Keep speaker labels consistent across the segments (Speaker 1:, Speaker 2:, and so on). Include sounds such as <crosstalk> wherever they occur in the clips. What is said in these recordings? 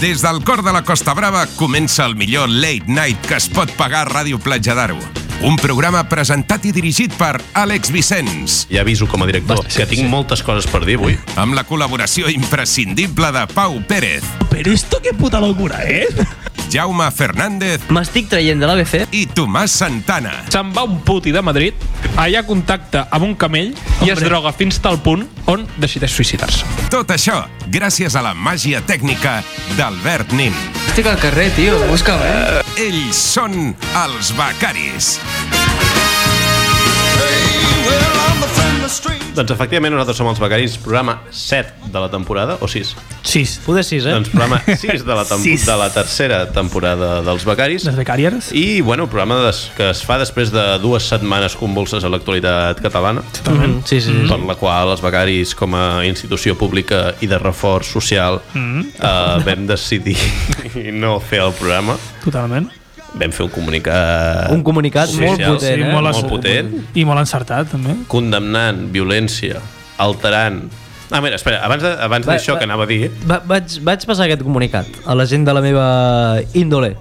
Speaker 1: Des del cor de la Costa Brava comença el millor late night que es pot pagar a Ràdio Platja d'Aro. Un programa presentat i dirigit per Àlex Vicenç,
Speaker 2: Ja aviso com a director
Speaker 3: Basta,
Speaker 2: que tinc
Speaker 3: sí.
Speaker 2: moltes coses per dir avui.
Speaker 1: amb la col·laboració imprescindible de Pau Pérez,
Speaker 4: Pero esto qué puta locura es.
Speaker 1: Jaume Fernández
Speaker 3: M'estic traient de l'ABC.
Speaker 1: i Tomàs Santana.
Speaker 5: Se'n va un puti de Madrid, allà contacta amb un camell i es
Speaker 3: Hombre.
Speaker 5: droga fins tal punt on decideix suïcidar-se.
Speaker 1: Tot això gràcies a la màgia tècnica d'Albert Nin.
Speaker 3: Estic al carrer, tio, busca'm, eh?
Speaker 1: Ells són els becaris.
Speaker 2: Doncs efectivament nosaltres som els Becaris, programa 7 de la temporada, o 6?
Speaker 4: Sis. Pude
Speaker 3: Eh?
Speaker 4: sis,
Speaker 2: Doncs
Speaker 3: <laughs>
Speaker 2: programa 6 de la, tempo,
Speaker 4: Sis.
Speaker 2: de la tercera temporada dels Becaris.
Speaker 4: Las becarias.
Speaker 2: I, bueno, programa des, que es fa després de dues setmanes convulses a l'actualitat catalana.
Speaker 4: Totalment.
Speaker 3: Mm-hmm. Sí, sí.
Speaker 2: per la qual els becaris com a institució pública i de reforç social
Speaker 3: Mm.
Speaker 2: eh, vam decidir <laughs> no fer el programa
Speaker 4: Totalment.
Speaker 2: vam fer un comunicat
Speaker 3: Un comunicat molt
Speaker 2: social,
Speaker 3: potent,
Speaker 4: Sí,
Speaker 3: eh?
Speaker 4: molt
Speaker 2: molt potent
Speaker 4: I molt encertat, també.
Speaker 2: condemnant violència alterant Ah, mira, espera, abans de- abans
Speaker 3: Va-
Speaker 2: d'això
Speaker 3: va-
Speaker 2: que anava a dir,
Speaker 3: Va, vaig, vaig passar aquest comunicat a la gent de la meva índole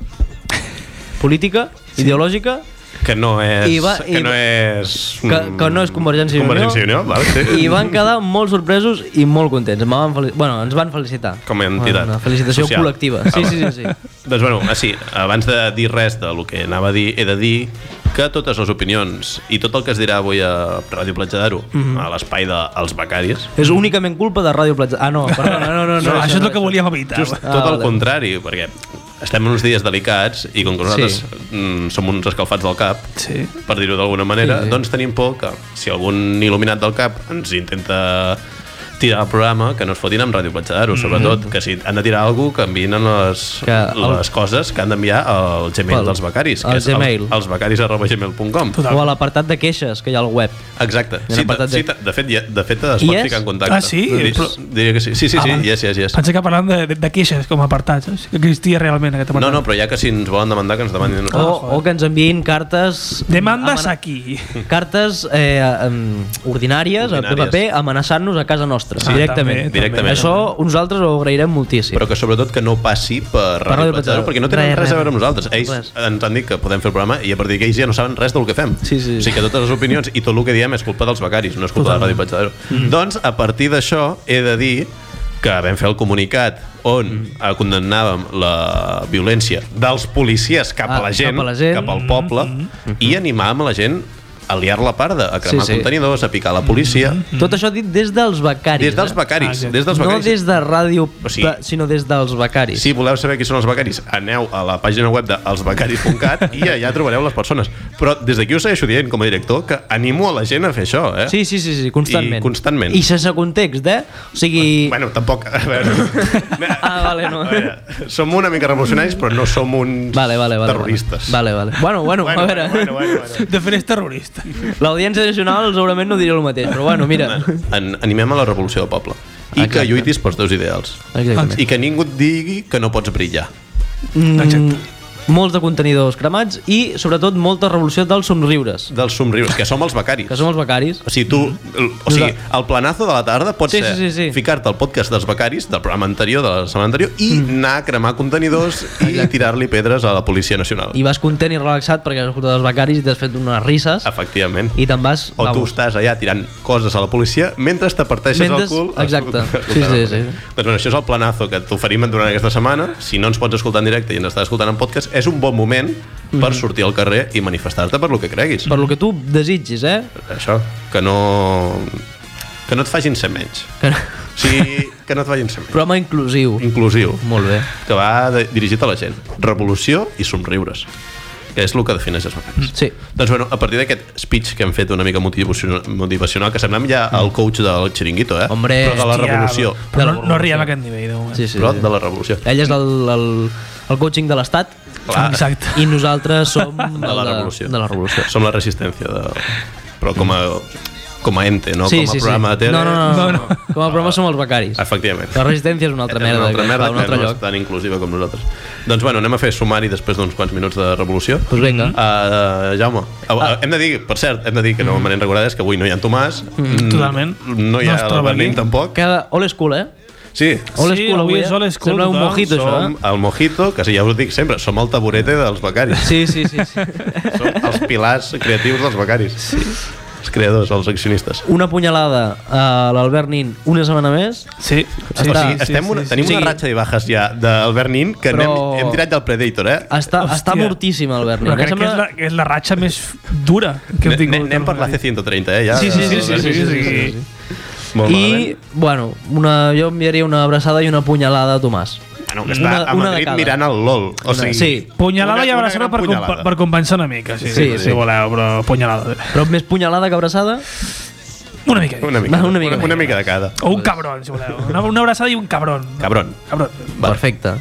Speaker 3: política, sí. ideològica,
Speaker 2: que no és...
Speaker 3: I va-
Speaker 2: que
Speaker 3: i-
Speaker 2: no és...
Speaker 3: que, que no és Convergència i Unió.
Speaker 2: Mm. Convergència i Unió, val, sí.
Speaker 3: I van quedar molt sorpresos i molt contents. Em Van feli... bueno, ens van felicitar.
Speaker 2: Com a entitat
Speaker 3: Una felicitació
Speaker 2: social.
Speaker 3: col·lectiva.
Speaker 2: Ah,
Speaker 3: Sí,
Speaker 2: va.
Speaker 3: sí, sí, sí.
Speaker 2: Doncs bueno, ah, sí, abans de dir res de lo que anava a dir, he de dir que totes les opinions i tot el que es dirà avui a Ràdio Platja d'Aro,
Speaker 3: Mhm.
Speaker 2: a l'espai dels becaris,
Speaker 3: És únicament culpa de Ràdio Platja. Ah, no, perdó, no, no, no. no,
Speaker 4: No, això és el que
Speaker 3: no.
Speaker 4: volíem evitar.
Speaker 2: Just
Speaker 3: Ah,
Speaker 2: ah, tot el
Speaker 3: vale.
Speaker 2: contrari, perquè estem en uns dies delicats i com que nosaltres sí. som uns escalfats del cap,
Speaker 4: Sí.
Speaker 2: per dir-ho d'alguna manera,
Speaker 3: Sí,
Speaker 2: sí,
Speaker 3: sí.
Speaker 2: sí. doncs tenim por que si algun il·luminat del cap ens intenta tirar el programa, que no es fotin amb Ràdio Platja d'Aro, sobretot, que si han de tirar alguna cosa, que envien en les,
Speaker 3: Mm-hmm. Que el-
Speaker 2: les coses que han d'enviar al Gmail
Speaker 3: Pel-
Speaker 2: dels becaris,
Speaker 3: al
Speaker 2: que és
Speaker 3: Gmail.
Speaker 2: els becaris arroba gmail.com.
Speaker 3: O a l'apartat de queixes que hi ha al web.
Speaker 2: Exacte.
Speaker 3: Hi ha
Speaker 2: Sí,
Speaker 3: un
Speaker 2: de,
Speaker 3: apartat de-
Speaker 2: sí, de, de fet, ja, de fet es
Speaker 3: Hi
Speaker 2: pot
Speaker 3: és?
Speaker 2: ficar en contacte.
Speaker 4: Ah, sí?
Speaker 2: Dir,
Speaker 4: Però-
Speaker 2: diria que sí. Sí, sí, sí,
Speaker 4: Ah, va.
Speaker 2: yes, yes, yes.
Speaker 4: Pensé que parlant de, de, de queixes com a apartat, saps? que existia realment aquest
Speaker 2: No,
Speaker 4: apartat.
Speaker 2: no, però ja que si ens volen demandar que ens demanin...
Speaker 3: O, o que ens enviïn cartes...
Speaker 4: Demandes
Speaker 3: amana-
Speaker 4: aquí. <laughs>
Speaker 3: Cartes eh, em, ordinàries, ordinàries, de
Speaker 2: Ordinàries.
Speaker 3: paper, amenaçant-nos a casa nostra,
Speaker 4: Sí,
Speaker 3: directament.
Speaker 4: també,
Speaker 2: també.
Speaker 3: Això nosaltres ho agrairem moltíssim.
Speaker 2: però que sobretot que no passi per Ràdio
Speaker 3: Ràdio
Speaker 2: Platja d'Aro,
Speaker 3: Platja
Speaker 2: perquè no tenen
Speaker 3: d'Aro.
Speaker 2: res, a
Speaker 3: Res,
Speaker 2: veure amb nosaltres.
Speaker 3: res.
Speaker 2: Ells
Speaker 3: Res.
Speaker 2: ens han dit que podem fer el programa i a partir d'aquells ja no saben res del que fem.
Speaker 3: Sí, sí.
Speaker 2: O sigui que totes les opinions i tot el que diem és culpa dels becaris, no és culpa de Ràdio Platja d'Aro.
Speaker 3: Mm-hmm.
Speaker 2: Doncs a partir d'això he de dir que vam fer el comunicat on
Speaker 3: Mm-hmm.
Speaker 2: eh, condemnàvem la violència dels policies cap,
Speaker 3: Ah,
Speaker 2: a la gent,
Speaker 3: cap a la gent. Mm-hmm.
Speaker 2: cap al poble, i animàvem la gent a liar la parda, a cremar
Speaker 3: sí.
Speaker 2: contenidors, a picar la policia...
Speaker 3: Tot això dit des dels becaris.
Speaker 2: Des dels
Speaker 3: eh?
Speaker 2: becaris,
Speaker 4: Ah,
Speaker 2: des dels becaris.
Speaker 3: No des de ràdio,
Speaker 2: O sigui-
Speaker 3: Pla- sinó des dels becaris.
Speaker 2: Si voleu saber qui són els becaris, aneu a la pàgina web de
Speaker 3: <laughs>
Speaker 2: elsbecaris.cat i allà trobareu les persones. Però des d'aquí us segueixo dient, com a director, que animo a la gent a fer això, eh?
Speaker 3: Sí, sí, sí, sí constantment.
Speaker 2: I constantment.
Speaker 3: I sense context, eh? O sigui...
Speaker 2: Bueno, tampoc... A veure...
Speaker 3: <laughs> Ah, vale, no.
Speaker 2: A veure, som una mica revolucionaris, però no som uns
Speaker 3: vale, vale, vale.
Speaker 2: terroristes.
Speaker 3: Vale, vale. Bueno, bueno,
Speaker 2: Bueno,
Speaker 3: a veure.
Speaker 2: bueno, bueno, bueno.
Speaker 4: De fer és terrorista.
Speaker 3: <laughs>
Speaker 2: Mm,
Speaker 3: L'audiència nacional segurament no diria el mateix, però bueno, mira.
Speaker 2: En, animem a la revolució del poble. I
Speaker 3: Exacte.
Speaker 2: que lluitis pels teus ideals.
Speaker 3: Exactament.
Speaker 2: Doncs, I que ningú et digui que no pots brillar.
Speaker 4: Exacte.
Speaker 3: Molts de contenidors cremats i, sobretot, molta revolució dels somriures,
Speaker 2: Dels somriures, que som els becaris.
Speaker 3: que som els becaris.
Speaker 2: O sigui, tu, l- o sigui, el planazo de la tarda pot
Speaker 3: Mm-hmm. Sí,
Speaker 2: ser
Speaker 3: sí, sí, sí.
Speaker 2: ficar-te al podcast dels becaris, del programa anterior, de la setmana anterior, i
Speaker 3: Mm-hmm.
Speaker 2: anar a cremar contenidors i tirar-li pedres a la Policia Nacional.
Speaker 3: I vas content i relaxat perquè has escoltat els becaris i t'has fet unes risses
Speaker 2: Efectivament.
Speaker 3: i te'n vas...
Speaker 2: O tu estàs allà tirant coses a la policia mentre t'aparteixes
Speaker 3: Mentre-
Speaker 2: el cul.
Speaker 3: exacte.
Speaker 2: <laughs> escoltant-
Speaker 3: Sí, sí, sí.
Speaker 2: Doncs bueno, això és el planazo que t'oferim durant aquesta setmana. Si no ens pots escoltar en directe i ens estàs escoltant en podcast, és un bon moment per sortir al carrer i manifestar-te per lo que creguis.
Speaker 3: Mm-hmm. Per lo que tu desitgis, eh?
Speaker 2: Això, que no... Que no et facin ser menys.
Speaker 3: Que...
Speaker 2: O sigui, que no et facin ser menys.
Speaker 3: <laughs> Programa inclusiu.
Speaker 2: inclusiu
Speaker 3: Molt bé.
Speaker 2: que va de, dirigit a la gent revolució i somriures que és el que defineix els becaris
Speaker 3: Sí.
Speaker 2: doncs bueno, a partir d'aquest speech que hem fet una mica motivacional, motivacional que semblem ja el coach del Chiringuito eh?
Speaker 3: Hombre,
Speaker 2: però de la
Speaker 4: Hòstia,
Speaker 2: revolució
Speaker 4: Però
Speaker 3: De
Speaker 4: no,
Speaker 3: la
Speaker 4: no arribem a aquest nivell, de moment.
Speaker 3: Sí, sí,
Speaker 2: però
Speaker 3: sí.
Speaker 2: de la revolució
Speaker 3: Ell és el, el, el coaching de l'Estat
Speaker 2: Clar,
Speaker 4: Exacte.
Speaker 3: i
Speaker 2: <laughs>
Speaker 3: nosaltres som
Speaker 2: de la revolució
Speaker 3: De la revolució.
Speaker 2: som la resistència de... però com a com a ente, no
Speaker 3: Sí,
Speaker 2: com a
Speaker 3: sí,
Speaker 2: programa
Speaker 3: sí.
Speaker 2: de tele.
Speaker 3: No, no, no, no,
Speaker 4: No,
Speaker 3: no.
Speaker 4: no.
Speaker 3: Com a programa som els
Speaker 2: <laughs>
Speaker 3: becaris.
Speaker 2: Efectivament.
Speaker 3: La resistència és una altra merda,
Speaker 2: és una
Speaker 3: que
Speaker 2: altra merda
Speaker 3: va a un altre
Speaker 2: que no
Speaker 3: lloc.
Speaker 2: és tan inclusiva com nosaltres. Doncs bueno, anem a fer sumari després d'uns quants minuts de revolució.
Speaker 3: Doncs vinga.
Speaker 2: Uh, Jaume, uh,
Speaker 4: Ah.
Speaker 2: hem de dir, per cert, hem de dir que no m'anem recordada és que avui no hi ha en Tomàs, mm,
Speaker 4: Mm. totalment.
Speaker 2: no hi
Speaker 4: No
Speaker 2: ha
Speaker 4: es
Speaker 2: no
Speaker 4: troba
Speaker 2: Berlín
Speaker 4: aquí.
Speaker 2: tampoc.
Speaker 3: Cada old school, eh?
Speaker 2: Sí,
Speaker 3: Old
Speaker 4: Sí,
Speaker 3: school
Speaker 4: avui
Speaker 3: avui,
Speaker 4: és
Speaker 3: eh?
Speaker 4: old school,
Speaker 3: Sembla un
Speaker 4: total.
Speaker 3: mojito, això,
Speaker 2: som
Speaker 3: eh?
Speaker 2: el Mojito, que sí, ja us dic sempre, som el taburete dels becaris.
Speaker 3: Sí, sí, sí. sí.
Speaker 2: Som els pilars creatius dels becaris. Sí. Els creadors, els accionistes.
Speaker 3: Una punyalada a l'Albert Nin una setmana més.
Speaker 2: Sí,
Speaker 4: Sí, sí,
Speaker 2: o
Speaker 3: Està-
Speaker 2: sigui, estem una, tenim
Speaker 3: sí.
Speaker 2: una ratxa de bajas ja d'Albert Nin que anem,
Speaker 3: Però-
Speaker 2: hem tirat del Predator, eh?
Speaker 4: Ah,
Speaker 3: Està,
Speaker 4: Hòstia.
Speaker 3: està mortíssim, Albert Nin.
Speaker 4: però crec que és, la, que és la ratxa més dura que hem
Speaker 2: Anem
Speaker 4: tingut.
Speaker 2: anem per la C-130, eh? Ja,
Speaker 4: Sí, sí, sí, sí,
Speaker 2: Albertín.
Speaker 4: sí, sí, sí, sí.
Speaker 2: Molt
Speaker 3: I,
Speaker 2: I...
Speaker 3: bueno, una, jo enviaria una abraçada i una punyalada a Tomàs.
Speaker 2: Bueno, que està una, a
Speaker 3: una de
Speaker 2: Madrid
Speaker 3: cada.
Speaker 2: mirant el LOL. O sigui,
Speaker 3: Sí,
Speaker 4: Punyalada
Speaker 2: Una-
Speaker 4: i
Speaker 2: una
Speaker 4: abraçada
Speaker 2: gran
Speaker 4: per, com,
Speaker 2: punyalada.
Speaker 4: per compensar una mica, sí,
Speaker 3: Sí,
Speaker 4: sí, sí,
Speaker 3: sí.
Speaker 4: si voleu, però punyalada.
Speaker 3: però més punyalada que abraçada.
Speaker 4: Una mica.
Speaker 2: Una mica,
Speaker 3: Va,
Speaker 2: una
Speaker 3: una mica
Speaker 2: mica, una,
Speaker 3: més.
Speaker 2: mica de cada.
Speaker 4: O un cabron, si voleu. Una, una abraçada i un cabron.
Speaker 2: Cabron.
Speaker 4: Cabron.
Speaker 2: Vale.
Speaker 3: Perfecte.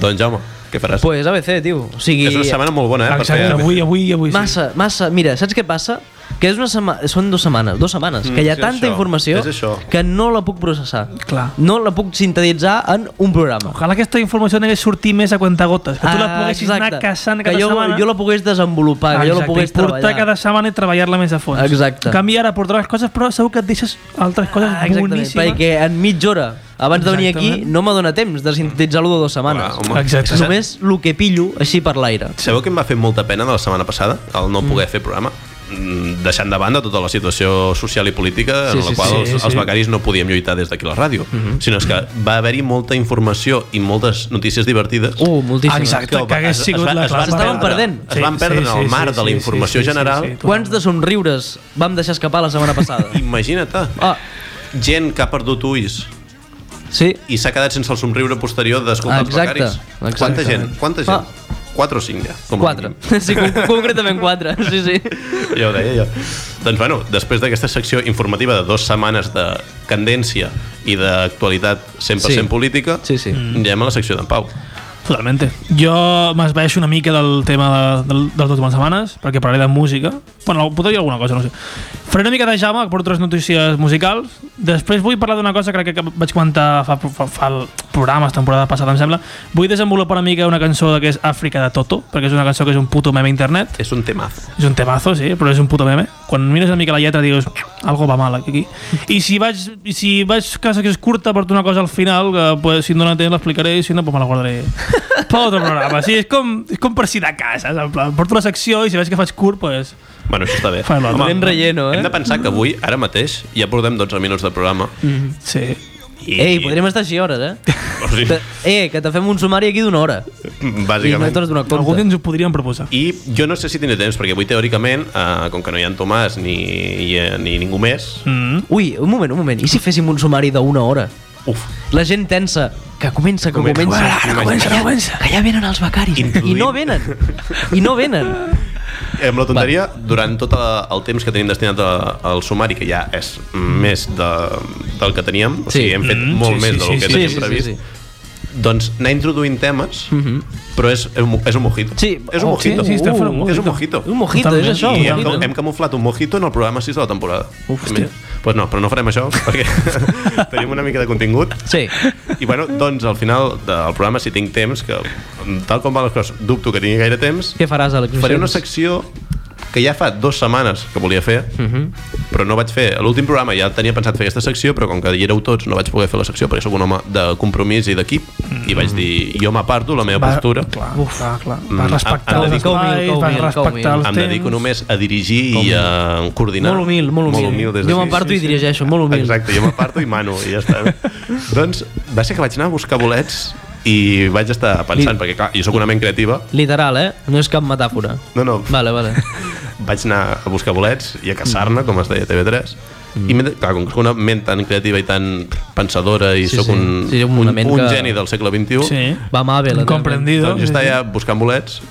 Speaker 2: Doncs Jaume, què faràs?
Speaker 3: Pues ABC, tio. O sigui,
Speaker 2: És una setmana molt bona, eh? per
Speaker 4: Exacte,
Speaker 2: fer-
Speaker 4: avui, avui, avui. sí.
Speaker 3: massa, massa. Mira, saps què passa? Que és una sema... són dues setmanes, dues setmanes, que hi ha
Speaker 2: és
Speaker 3: tanta
Speaker 2: això,
Speaker 3: informació
Speaker 2: és això.
Speaker 3: que no la puc processar.
Speaker 4: Clar.
Speaker 3: No la puc sintetitzar en un programa.
Speaker 4: Ojalà aquesta informació n'hagués sortit més a cuentagotes, que tu la
Speaker 3: Ah,
Speaker 4: poguessis anar
Speaker 3: exacte.
Speaker 4: caçant cada
Speaker 3: que jo,
Speaker 4: setmana.
Speaker 3: jo la pogués desenvolupar, que jo la
Speaker 4: Exacte,
Speaker 3: pogués
Speaker 4: i portar
Speaker 3: treballar.
Speaker 4: cada setmana i treballar-la més a fons.
Speaker 3: Exacte.
Speaker 4: En canvi, ara portaràs coses, però segur que et deixes altres coses
Speaker 3: Ah, exactament,
Speaker 4: boníssimes.
Speaker 3: perquè en mitja hora, abans de venir aquí,
Speaker 4: Exactament.
Speaker 3: no m'adona temps de sintetitzar-lo de dues setmanes.
Speaker 2: Clar, home.
Speaker 4: Exacte.
Speaker 2: Saps-
Speaker 3: Només el que pillo així per l'aire.
Speaker 2: Sabeu que em va fer molta pena de la setmana passada, el no poder fer programa? Mm, deixant de banda tota la situació social i política sí, en
Speaker 3: Sí,
Speaker 2: la
Speaker 3: sí,
Speaker 2: qual
Speaker 3: sí,
Speaker 2: els,
Speaker 3: sí.
Speaker 2: els becaris no podíem lluitar des d'aquí la ràdio,
Speaker 4: Mm-hmm.
Speaker 2: sinó és que va haver-hi molta informació i moltes notícies divertides
Speaker 3: Uh, moltíssim.
Speaker 4: Exacte.
Speaker 2: ho va-
Speaker 4: que hagués
Speaker 2: es- es
Speaker 4: sigut
Speaker 2: va-
Speaker 4: la
Speaker 2: es van
Speaker 4: classe.
Speaker 3: S'estaven
Speaker 2: perdre.
Speaker 3: perdent.
Speaker 2: Es van perdre en el mar de la informació general.
Speaker 3: Quants de somriures vam deixar escapar la
Speaker 4: <laughs>
Speaker 3: setmana passada?
Speaker 2: Imagina't,
Speaker 3: Ah,
Speaker 2: gent que ha perdut ulls
Speaker 3: sí.
Speaker 2: i s'ha quedat sense el somriure posterior d'escoltar els
Speaker 3: Exacte,
Speaker 2: becaris.
Speaker 3: exacte.
Speaker 2: Quanta gent? Quanta gent?
Speaker 3: Ah.
Speaker 2: 4 o 5 ja. Com a
Speaker 3: Quatre.
Speaker 2: mínim.
Speaker 3: <laughs> Sí, con concretament quatre. <laughs> Sí, sí.
Speaker 2: Ja ho deia jo. Doncs bueno, després d'aquesta secció informativa de dues setmanes de candència i d'actualitat 100%
Speaker 3: Sí.
Speaker 2: sí. política, Mm.
Speaker 3: Sí, sí.
Speaker 2: anem a la secció d'en Pau.
Speaker 4: Totalmente. Jo m'esvaeixo una mica del tema de, del, dels últimes setmanes, perquè parlaré de música. Bueno, podria dir alguna cosa, no ho sé. Faré una mica de jama, que porto tres notícies musicals. Després vull parlar d'una cosa que crec que vaig comentar fa, fa, fa el programes, temporada passada, em sembla. Vull desenvolupar una mica una cançó que és Àfrica de Toto, perquè és una cançó que és un puto meme a internet.
Speaker 2: És un temazo.
Speaker 4: És un temazo, sí, però és un puto meme. Quan mires una mica la lletra dius, algo va mal aquí. I si vaig, i si vaig que és curta, porto una cosa al final, que pues, si em dóna temps l'explicaré, i si no, pues me la guardaré
Speaker 3: <laughs>
Speaker 4: per otro programa. Sí, és com, és com per si de casa, en plan, porto una secció i si veig que faig curt, pues,
Speaker 2: Bueno, això està bé.
Speaker 4: Fa l'altre.
Speaker 3: Ben relleno, eh?
Speaker 2: Hem de pensar que avui, ara mateix, ja portem 12 minuts de programa.
Speaker 3: Mm-hmm.
Speaker 4: mm, sí.
Speaker 2: I,
Speaker 3: Ei, podríem estar així hores,
Speaker 2: <laughs>
Speaker 3: eh?
Speaker 2: O sigui,
Speaker 3: Te- Eh, que te fem un sumari aquí d'una hora. I no
Speaker 2: bàsicament.
Speaker 3: t'has donat
Speaker 4: Algun dia
Speaker 3: compte.
Speaker 4: ens ho podríem proposar.
Speaker 2: I jo no sé si tindré temps, perquè avui teòricament, eh, com que no hi ha en Tomàs ni, ni, ni ningú més,
Speaker 4: Mm.
Speaker 3: Ui, un moment, un moment. I si féssim un sumari d'una hora?
Speaker 2: uf,
Speaker 3: La gent tensa, que comença, que
Speaker 2: Comença.
Speaker 3: comença.
Speaker 2: Ara, ara comença,
Speaker 3: que,
Speaker 2: ara
Speaker 3: ja,
Speaker 4: comença.
Speaker 3: que ja venen els becaris. I
Speaker 2: Introduïm.
Speaker 3: no venen. I no venen.
Speaker 4: Eh,
Speaker 2: Amb la tonteria, durant tot la- el temps que tenim destinat a- al sumari, que ja és més de, del que teníem, o
Speaker 3: Sí.
Speaker 2: sigui, hem fet
Speaker 4: Mm,
Speaker 2: molt
Speaker 4: sí,
Speaker 2: més
Speaker 4: sí,
Speaker 2: del
Speaker 4: sí,
Speaker 2: que
Speaker 4: sí, Mm-hmm.
Speaker 2: teníem previst, doncs anar introduint temes, però és, és un mojito.
Speaker 3: Sí,
Speaker 2: és un
Speaker 3: oh,
Speaker 2: mojito. Uh,
Speaker 4: sí, sí, estem fent un
Speaker 2: És
Speaker 4: mojito.
Speaker 2: un mojito.
Speaker 3: Un mojito,
Speaker 4: Totalment.
Speaker 3: és això.
Speaker 2: I
Speaker 3: un
Speaker 2: hem,
Speaker 3: mojito.
Speaker 2: hem camuflat un mojito en el programa 6 de la temporada.
Speaker 4: Uf, hòstia.
Speaker 2: pues no, però no farem això, <laughs> perquè <laughs> tenim una mica de contingut.
Speaker 3: Sí.
Speaker 2: I bueno, doncs al final del programa, si tinc temps, que tal com van les coses, dubto que tingui gaire temps,
Speaker 3: Què faràs, Alex?
Speaker 2: Faré una secció que ja fa dues setmanes que volia fer,
Speaker 3: Mhm.
Speaker 2: però no vaig fer. A L'últim programa ja tenia pensat fer aquesta secció, però com que hi éreu tots no vaig poder fer la secció perquè sóc un home de compromís i d'equip i vaig dir, jo m'aparto la meva postura,
Speaker 4: Clar, Uf, clar, clar.
Speaker 2: Mm,
Speaker 4: Vas respectar
Speaker 2: em- em
Speaker 4: els
Speaker 2: dedico-
Speaker 4: espais,
Speaker 3: Com
Speaker 4: vas
Speaker 3: humil, com
Speaker 4: respectar
Speaker 3: humil.
Speaker 4: els
Speaker 2: em
Speaker 4: temps.
Speaker 2: dedico només a dirigir i a coordinar.
Speaker 3: Molt humil, molt humil.
Speaker 2: Molt humil des
Speaker 3: jo
Speaker 2: d'aquí.
Speaker 3: m'aparto sí, i dirigeixo, molt humil.
Speaker 2: Exacte, jo m'aparto i mano i ja
Speaker 3: <laughs>
Speaker 2: està. doncs va ser que vaig anar a buscar bolets i vaig estar pensant, perquè clar, jo sóc una ment creativa,
Speaker 3: Literal, eh? No és cap metàfora.
Speaker 2: no, no,
Speaker 3: Vale, vale.
Speaker 2: vaig anar a buscar bolets i a
Speaker 3: Mm.
Speaker 2: caçar-ne, com es deia a TV3 i mentre, clar, com que soc una ment tan creativa i tan pensadora i
Speaker 3: Sí,
Speaker 2: sí, sóc
Speaker 3: sí.
Speaker 2: un,
Speaker 3: Sí, un
Speaker 2: un,
Speaker 3: ment
Speaker 2: un
Speaker 3: que-
Speaker 2: geni del segle XXI
Speaker 4: Sí.
Speaker 3: Va mal bé,
Speaker 4: <laughs>
Speaker 3: la
Speaker 4: Comprendido.
Speaker 2: doncs jo estava ja buscant bolets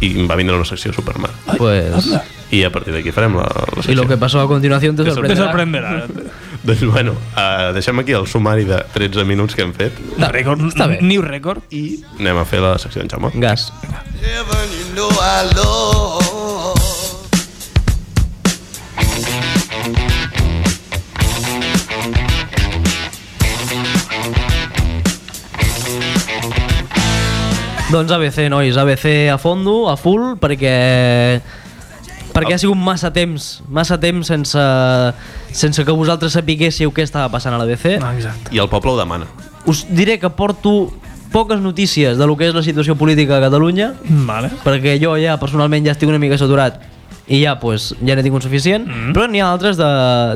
Speaker 2: i em va vindre una secció Superman
Speaker 3: Pues...
Speaker 2: i a partir d'aquí farem la, la
Speaker 3: Y
Speaker 2: secció
Speaker 3: lo que pasó a continuación te
Speaker 4: Te
Speaker 3: sorprenderá.
Speaker 4: sorprenderà.
Speaker 2: <laughs> doncs bueno, uh, deixem aquí el sumari de 13 minuts que hem fet
Speaker 3: Està bé,
Speaker 4: Rècord,
Speaker 3: està bé.
Speaker 4: New record.
Speaker 2: i anem a fer la secció d'en Jaume
Speaker 3: Gas.
Speaker 6: Heaven, you know I love.
Speaker 3: Doncs ABC, nois, ABC a fondo, a full, perquè perquè ha sigut massa temps, massa temps sense, sense que vosaltres sapiguéssiu què estava passant a l'ABC.
Speaker 4: Ah, exacte.
Speaker 2: I el poble ho demana.
Speaker 3: Us diré que porto poques notícies de lo que és la situació política a Catalunya,
Speaker 4: Vale. <laughs>
Speaker 3: perquè jo ja personalment ja estic una mica saturat i ja pues, ja n'he tingut suficient, mm. però n'hi ha altres de,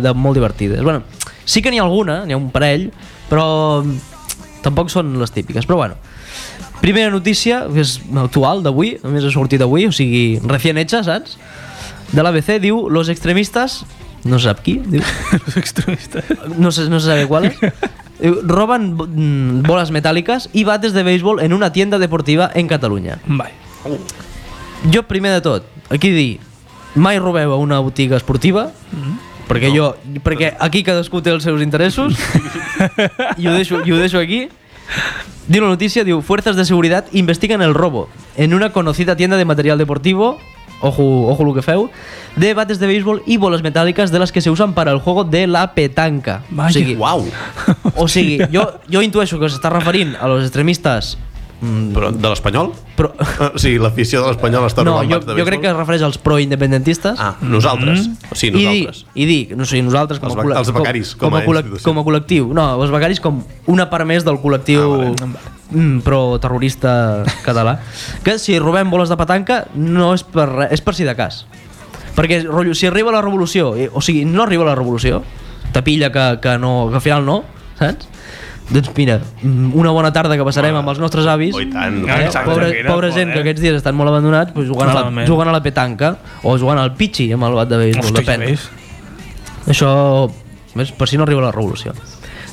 Speaker 3: de molt divertides. Bueno, sí que n'hi ha alguna, n'hi ha un parell, però mm, tampoc són les típiques, però bueno. Primera notícia, que és actual, d'avui, només ha sortit avui, o sigui, recient hecha, saps? De l'ABC diu, los extremistas, no se sap qui, diu,
Speaker 4: Els extremistes.
Speaker 3: no se, no se sabe cuáles, diu, roban mm, bolas metàl·liques i bates de béisbol en una tienda deportiva en Catalunya.
Speaker 4: Vale.
Speaker 3: Jo, primer de tot, aquí dir, mai robeu a una botiga esportiva, mm -hmm. perquè no. jo, perquè aquí cadascú té els seus interessos, i ho deixo, i ho deixo aquí. Diu la notícia, diu, fuerzas de seguridad investigan el robo en una conocida tienda de material deportivo, ojo, ojo lo que feu, de bates de béisbol y bolas metálicas de las que se usan para el juego de la petanca.
Speaker 4: Vaya.
Speaker 3: o sigui,
Speaker 2: Uau!
Speaker 3: o sigui jo, jo intueixo que s'està referint a los extremistes mm,
Speaker 2: Però de
Speaker 3: <laughs>
Speaker 2: l'Espanyol?
Speaker 3: però,
Speaker 2: O sigui, l'afició de l'Espanyol està
Speaker 3: no,
Speaker 2: robant
Speaker 3: jo,
Speaker 2: bats de
Speaker 3: jo crec que es
Speaker 2: béisbol?
Speaker 3: refereix als pro-independentistes.
Speaker 2: Ah, nosaltres. Mm. O sigui, nosaltres.
Speaker 3: I dir, i dir no sé, nosaltres com
Speaker 2: Els
Speaker 3: a,
Speaker 2: ba-
Speaker 3: col·le-
Speaker 2: els becaris,
Speaker 3: com,
Speaker 2: com a
Speaker 3: a, col·le-
Speaker 2: institució.
Speaker 3: com a col·lectiu. No, els becaris com una part més del col·lectiu
Speaker 2: Ah,
Speaker 3: mm, pro-terrorista català. Que si robem boles de petanca no és per, re- és per si de cas. Perquè rotllo, si arriba la revolució, eh, o sigui, no arriba la revolució, te pilla que, que, no, que al final no, saps? Doncs mira, mm, una bona tarda que passarem amb els nostres avis.
Speaker 2: Oh, i tant.
Speaker 3: Eh?
Speaker 4: Exacte,
Speaker 3: Pobre,
Speaker 4: mira,
Speaker 3: pobra gent
Speaker 4: joder.
Speaker 3: que aquests dies estan molt abandonats pues, jugant, a la,
Speaker 4: Totalment.
Speaker 3: jugant a la petanca o jugant al pitxi amb el bat de béisbol,
Speaker 4: Hòstia,
Speaker 3: depèn.
Speaker 4: veus?
Speaker 3: Això, ves, per si no arriba la revolució.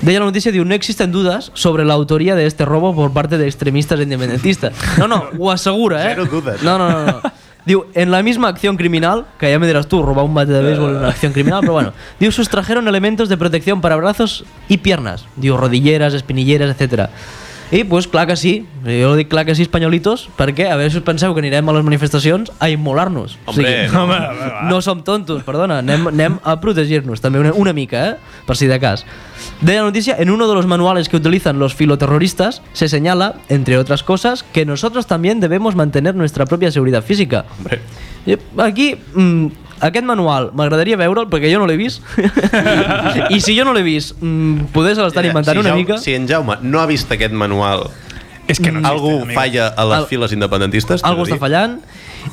Speaker 3: Deia la noticia, diu, no existen dudas sobre la autoría de este robo por parte de extremistas e independentistas. No, no, ho assegura, eh?
Speaker 2: Zero dudas.
Speaker 3: No, no, no, no. Diu, en la misma acción criminal, que ya me dirás tú, robar un bate de béisbol en una acción criminal, pero bueno. Diu, sustrajeron elementos de protección para brazos y piernas. Diu, rodilleras, espinilleras, etcétera. I, pues, clar que sí. Jo dic clar que sí, espanyolitos, perquè a veure si us penseu que anirem a les manifestacions a immolar-nos.
Speaker 2: Hombre, no.
Speaker 4: Home, va, va.
Speaker 3: No som tontos, perdona, anem, anem a protegir-nos també una, una mica, eh? per si de cas. Deia la noticia, en uno de los manuales que utilizan los filoterroristas se señala, entre otras cosas, que nosotros también debemos mantener nuestra propia seguridad física.
Speaker 2: Hombre.
Speaker 3: I Aquí, mm, aquest manual, m'agradaria veure'l perquè jo no l'he
Speaker 2: <laughs>
Speaker 3: vist. I si jo no l'he vist, mm, poder se l'estan inventant
Speaker 2: si
Speaker 3: una
Speaker 2: Jaume,
Speaker 3: mica.
Speaker 2: Si en Jaume no ha vist aquest manual,
Speaker 5: És que no
Speaker 2: algú falla a les
Speaker 3: Al-
Speaker 2: files independentistes? t'he
Speaker 3: Algo
Speaker 2: de
Speaker 3: està
Speaker 2: dir.
Speaker 3: fallant.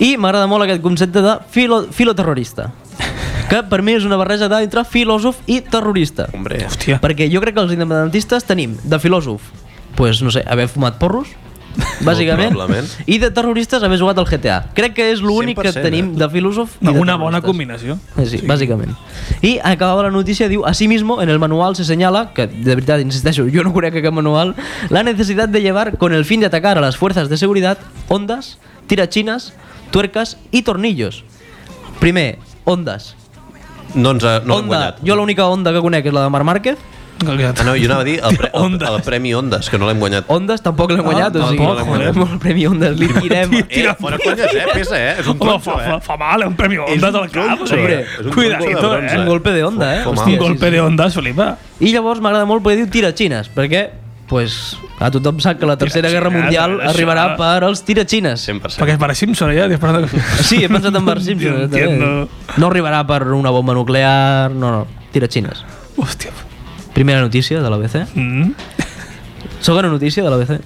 Speaker 3: I m'agrada molt aquest concepte de filo, filoterrorista. Que per mi és una barreja d'entre filòsof i terrorista.
Speaker 2: Hombre, Hòstia.
Speaker 4: Hòstia.
Speaker 3: <laughs> Perquè jo crec que els independentistes tenim de filòsof, pues, no sé, haver fumat
Speaker 2: <laughs>
Speaker 3: porros, bàsicament,
Speaker 2: probablement.
Speaker 3: i de terroristes haver jugat al GTA. Crec que és l'únic que
Speaker 2: 100%,
Speaker 3: tenim
Speaker 2: eh?
Speaker 3: de filòsof i de
Speaker 4: Una bona
Speaker 3: terroristes.
Speaker 4: combinació.
Speaker 3: Eh, Sí, sí, bàsicament. I acabava la notícia, diu, asimismo, en el manual se señala, que de veritat, insisteixo, jo no conec aquest manual, la necesidad de llevar, con el fin de atacar a las fuerzas de seguridad, ondas, tirachinas, tuercas y tornillos. Primer, ondas.
Speaker 2: no ens ha, no l'hem
Speaker 3: onda.
Speaker 2: guanyat.
Speaker 3: Jo l'única onda que conec és la de Marc Márquez.
Speaker 2: Ah, <laughs>
Speaker 4: Exacte.
Speaker 2: no, jo anava a dir el,
Speaker 3: <laughs>
Speaker 2: pre, el,
Speaker 4: Ondes.
Speaker 2: el Premi Ondes, que no l'hem guanyat.
Speaker 3: Ondes tampoc l'he guanyat, o sigui,
Speaker 4: Ah, tampoc, joder.
Speaker 3: amb el Premi Ondas
Speaker 4: <laughs>
Speaker 3: li tirem.
Speaker 2: Eh, fora conyes, eh? Pesa, eh? És un
Speaker 4: Home,
Speaker 2: tronxo,
Speaker 4: fa, fa,
Speaker 2: eh?
Speaker 4: fa mal, eh? un premi Ondas al cap.
Speaker 2: tronxo,
Speaker 4: eh?
Speaker 3: eh?
Speaker 2: És un
Speaker 4: Cuidadito,
Speaker 2: tronxo de bronze,
Speaker 4: eh?
Speaker 3: Un golpe de onda, eh?
Speaker 2: Fa mal.
Speaker 4: Un
Speaker 3: Hòstia, sí,
Speaker 4: golpe de onda, Solipa.
Speaker 3: I llavors m'agrada molt poder dir tiratxines, perquè pues, a tothom sap que la Tercera Guerra
Speaker 4: Tiratxines,
Speaker 3: Mundial
Speaker 4: això.
Speaker 3: arribarà per als tiratxines.
Speaker 2: 100%.
Speaker 4: Perquè és per a Simpson, ¿eh? ja? Dius, perdó.
Speaker 3: Sí, he pensat en Bart
Speaker 4: <laughs>
Speaker 3: Simpson. eh, també.
Speaker 4: Entiendo.
Speaker 3: No arribarà per una bomba nuclear, no, no, tiratxines.
Speaker 4: Hòstia.
Speaker 3: Primera notícia de l'ABC.
Speaker 4: Mm.
Speaker 3: Segona notícia de l'ABC.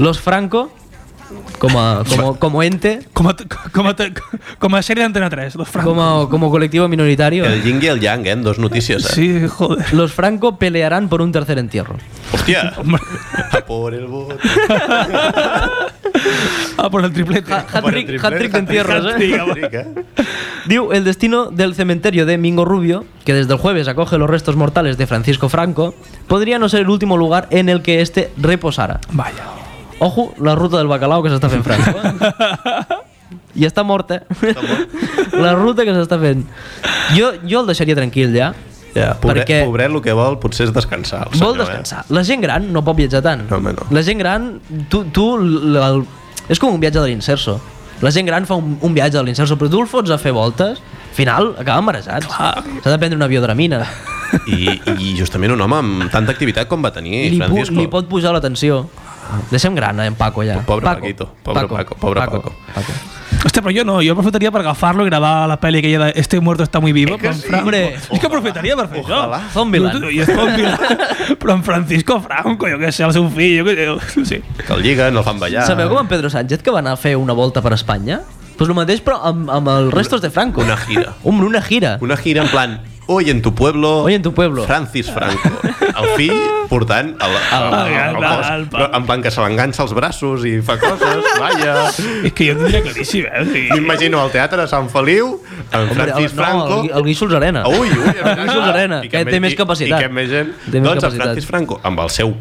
Speaker 3: Los Franco, com a, com, a- com a ente,
Speaker 4: Com a, com a, com a sèrie d'Antena 3, los Franco.
Speaker 3: com a, como colectivo minoritario,
Speaker 2: El Ying i el Yang, eh? En dos notícies, eh?
Speaker 4: Sí, joder. <laughs>
Speaker 3: los Franco pelearán por un tercer entierro.
Speaker 2: Hòstia! A por el bot.
Speaker 4: Ah, por el triplet.
Speaker 3: Ha- Hat-trick hat-trick d'entierros, eh?
Speaker 2: Hat-trick, eh?
Speaker 3: Diu, el destino del cementerio de Mingo Rubio, que desde el jueves acoge los restos mortales de Francisco Franco, podría no ser el último lugar en el que este reposara.
Speaker 4: Vaya.
Speaker 3: Ojo, la ruta del bacalao que s'està fent Franco. eh. I està mort, eh? <laughs> la ruta que s'està fent. Jo, jo el deixaria tranquil, ja.
Speaker 2: Ja, pobret,
Speaker 3: Perquè-
Speaker 2: pobret el que vol potser és descansar. el senyor,
Speaker 3: Vol
Speaker 2: eh?
Speaker 3: descansar. La gent gran no pot viatjar tant.
Speaker 2: No, home, no.
Speaker 3: La gent gran, tu... tu l- el, és com un viatge de l'inserso. La gent gran fa un, un viatge de l'inserso, però tu el fots a fer voltes, al final acaben marejats. S'ha de prendre una biodramina.
Speaker 2: I, I justament un home amb tanta activitat com va tenir
Speaker 3: li, pu-
Speaker 2: Francisco.
Speaker 3: li pot pujar la tensió. Deixem gran, eh, en Paco, ja.
Speaker 2: Pobre Paquito, pobre Paco, pobre Paco.
Speaker 4: Hòstia, però jo no, jo aprofitaria per agafar-lo i gravar la pel·li aquella de Este muerto está muy vivo. però en
Speaker 3: sí?
Speaker 4: Fran-
Speaker 3: Hombre.
Speaker 4: És que aprofitaria per fer
Speaker 2: Ojalá.
Speaker 4: això.
Speaker 3: Zombieland.
Speaker 4: Tu- tu- i és
Speaker 3: <laughs>
Speaker 4: Zombieland. però en Francisco Franco, jo què sé, el seu fill, jo què sé. No sé.
Speaker 2: Que el lliguen, el fan ballar.
Speaker 3: Sabeu com en Pedro Sánchez que va anar a fer una volta per Espanya? Pues el mateix, però amb, amb els restos de Franco.
Speaker 2: una gira.
Speaker 3: Um, una gira.
Speaker 2: Una gira en plan, hoy en tu pueblo...
Speaker 3: Hoy en tu pueblo.
Speaker 2: Francis Franco. El fill portant el, el, el, el, el,
Speaker 4: el- el-
Speaker 2: cos. Però en plan que se l'enganxa els braços i fa
Speaker 3: <laughs>
Speaker 2: coses, vaja.
Speaker 4: És que jo ho tindria claríssim, eh? O sigui,
Speaker 2: M'imagino al teatre de Sant Feliu, en
Speaker 3: Hombre,
Speaker 2: Francis
Speaker 3: el,
Speaker 2: Franco...
Speaker 3: No, el, el Guíxols Arena.
Speaker 2: Ah, Ui, ui,
Speaker 3: Jesús Arena,
Speaker 2: I
Speaker 3: que
Speaker 2: més-
Speaker 3: té més
Speaker 2: i-
Speaker 3: capacitat.
Speaker 2: I que més gent.
Speaker 3: Té més
Speaker 2: doncs
Speaker 3: capacitat.
Speaker 2: en Francis Franco, amb el seu...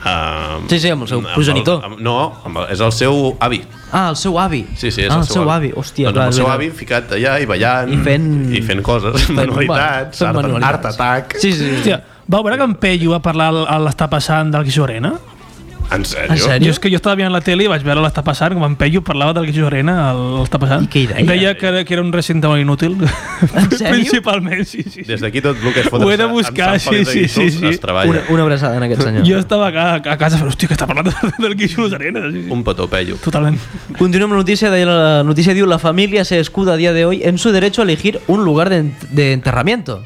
Speaker 2: Uh,
Speaker 3: Sí, sí, amb el seu progenitor.
Speaker 2: Amb, no, amb el, és el seu avi.
Speaker 3: Ah, el seu avi.
Speaker 2: Sí, sí, és
Speaker 3: ah,
Speaker 2: el, seu avi.
Speaker 3: Hòstia,
Speaker 2: doncs amb el seu
Speaker 3: clar,
Speaker 2: avi ficat allà i ballant.
Speaker 3: I fent-
Speaker 2: I fent coses,
Speaker 3: fent
Speaker 2: manualitats,
Speaker 3: fent
Speaker 2: art,
Speaker 3: manualitats.
Speaker 2: art attack.
Speaker 3: Sí, sí, sí.
Speaker 4: Hòstia, vau veure que en Peyu va parlar a l'Està passant del Quixo Arena?
Speaker 2: En sèrio?
Speaker 3: En sèrio?
Speaker 4: Jo és que jo estava mirant la tele i vaig veure l'Està passant, com en Peyu parlava del Quixo Arena, el- l'Està passant.
Speaker 3: I què hi deia?
Speaker 4: Deia que, era- que era un recinte molt inútil.
Speaker 3: En sèrio?
Speaker 4: <laughs> Principalment, sí, sí. sí.
Speaker 2: Des d'aquí tot el que es fot
Speaker 4: Ho he
Speaker 2: en
Speaker 4: de
Speaker 2: Sant- en
Speaker 4: buscar,
Speaker 2: Sant Feliu
Speaker 4: sí,
Speaker 2: de
Speaker 4: sí,
Speaker 2: Guíxols
Speaker 4: sí, sí.
Speaker 2: Es treballa.
Speaker 3: Una, una abraçada en aquest senyor.
Speaker 4: Jo estava a, a casa, però hòstia, que està parlant del Quixo Arena. Sí, sí.
Speaker 2: Un petó, Peyu.
Speaker 4: <laughs> Totalment.
Speaker 3: Continúa la noticia, de la noticia diu la familia se escuda a día de hoy en su derecho a elegir un lugar de, en- de enterramiento.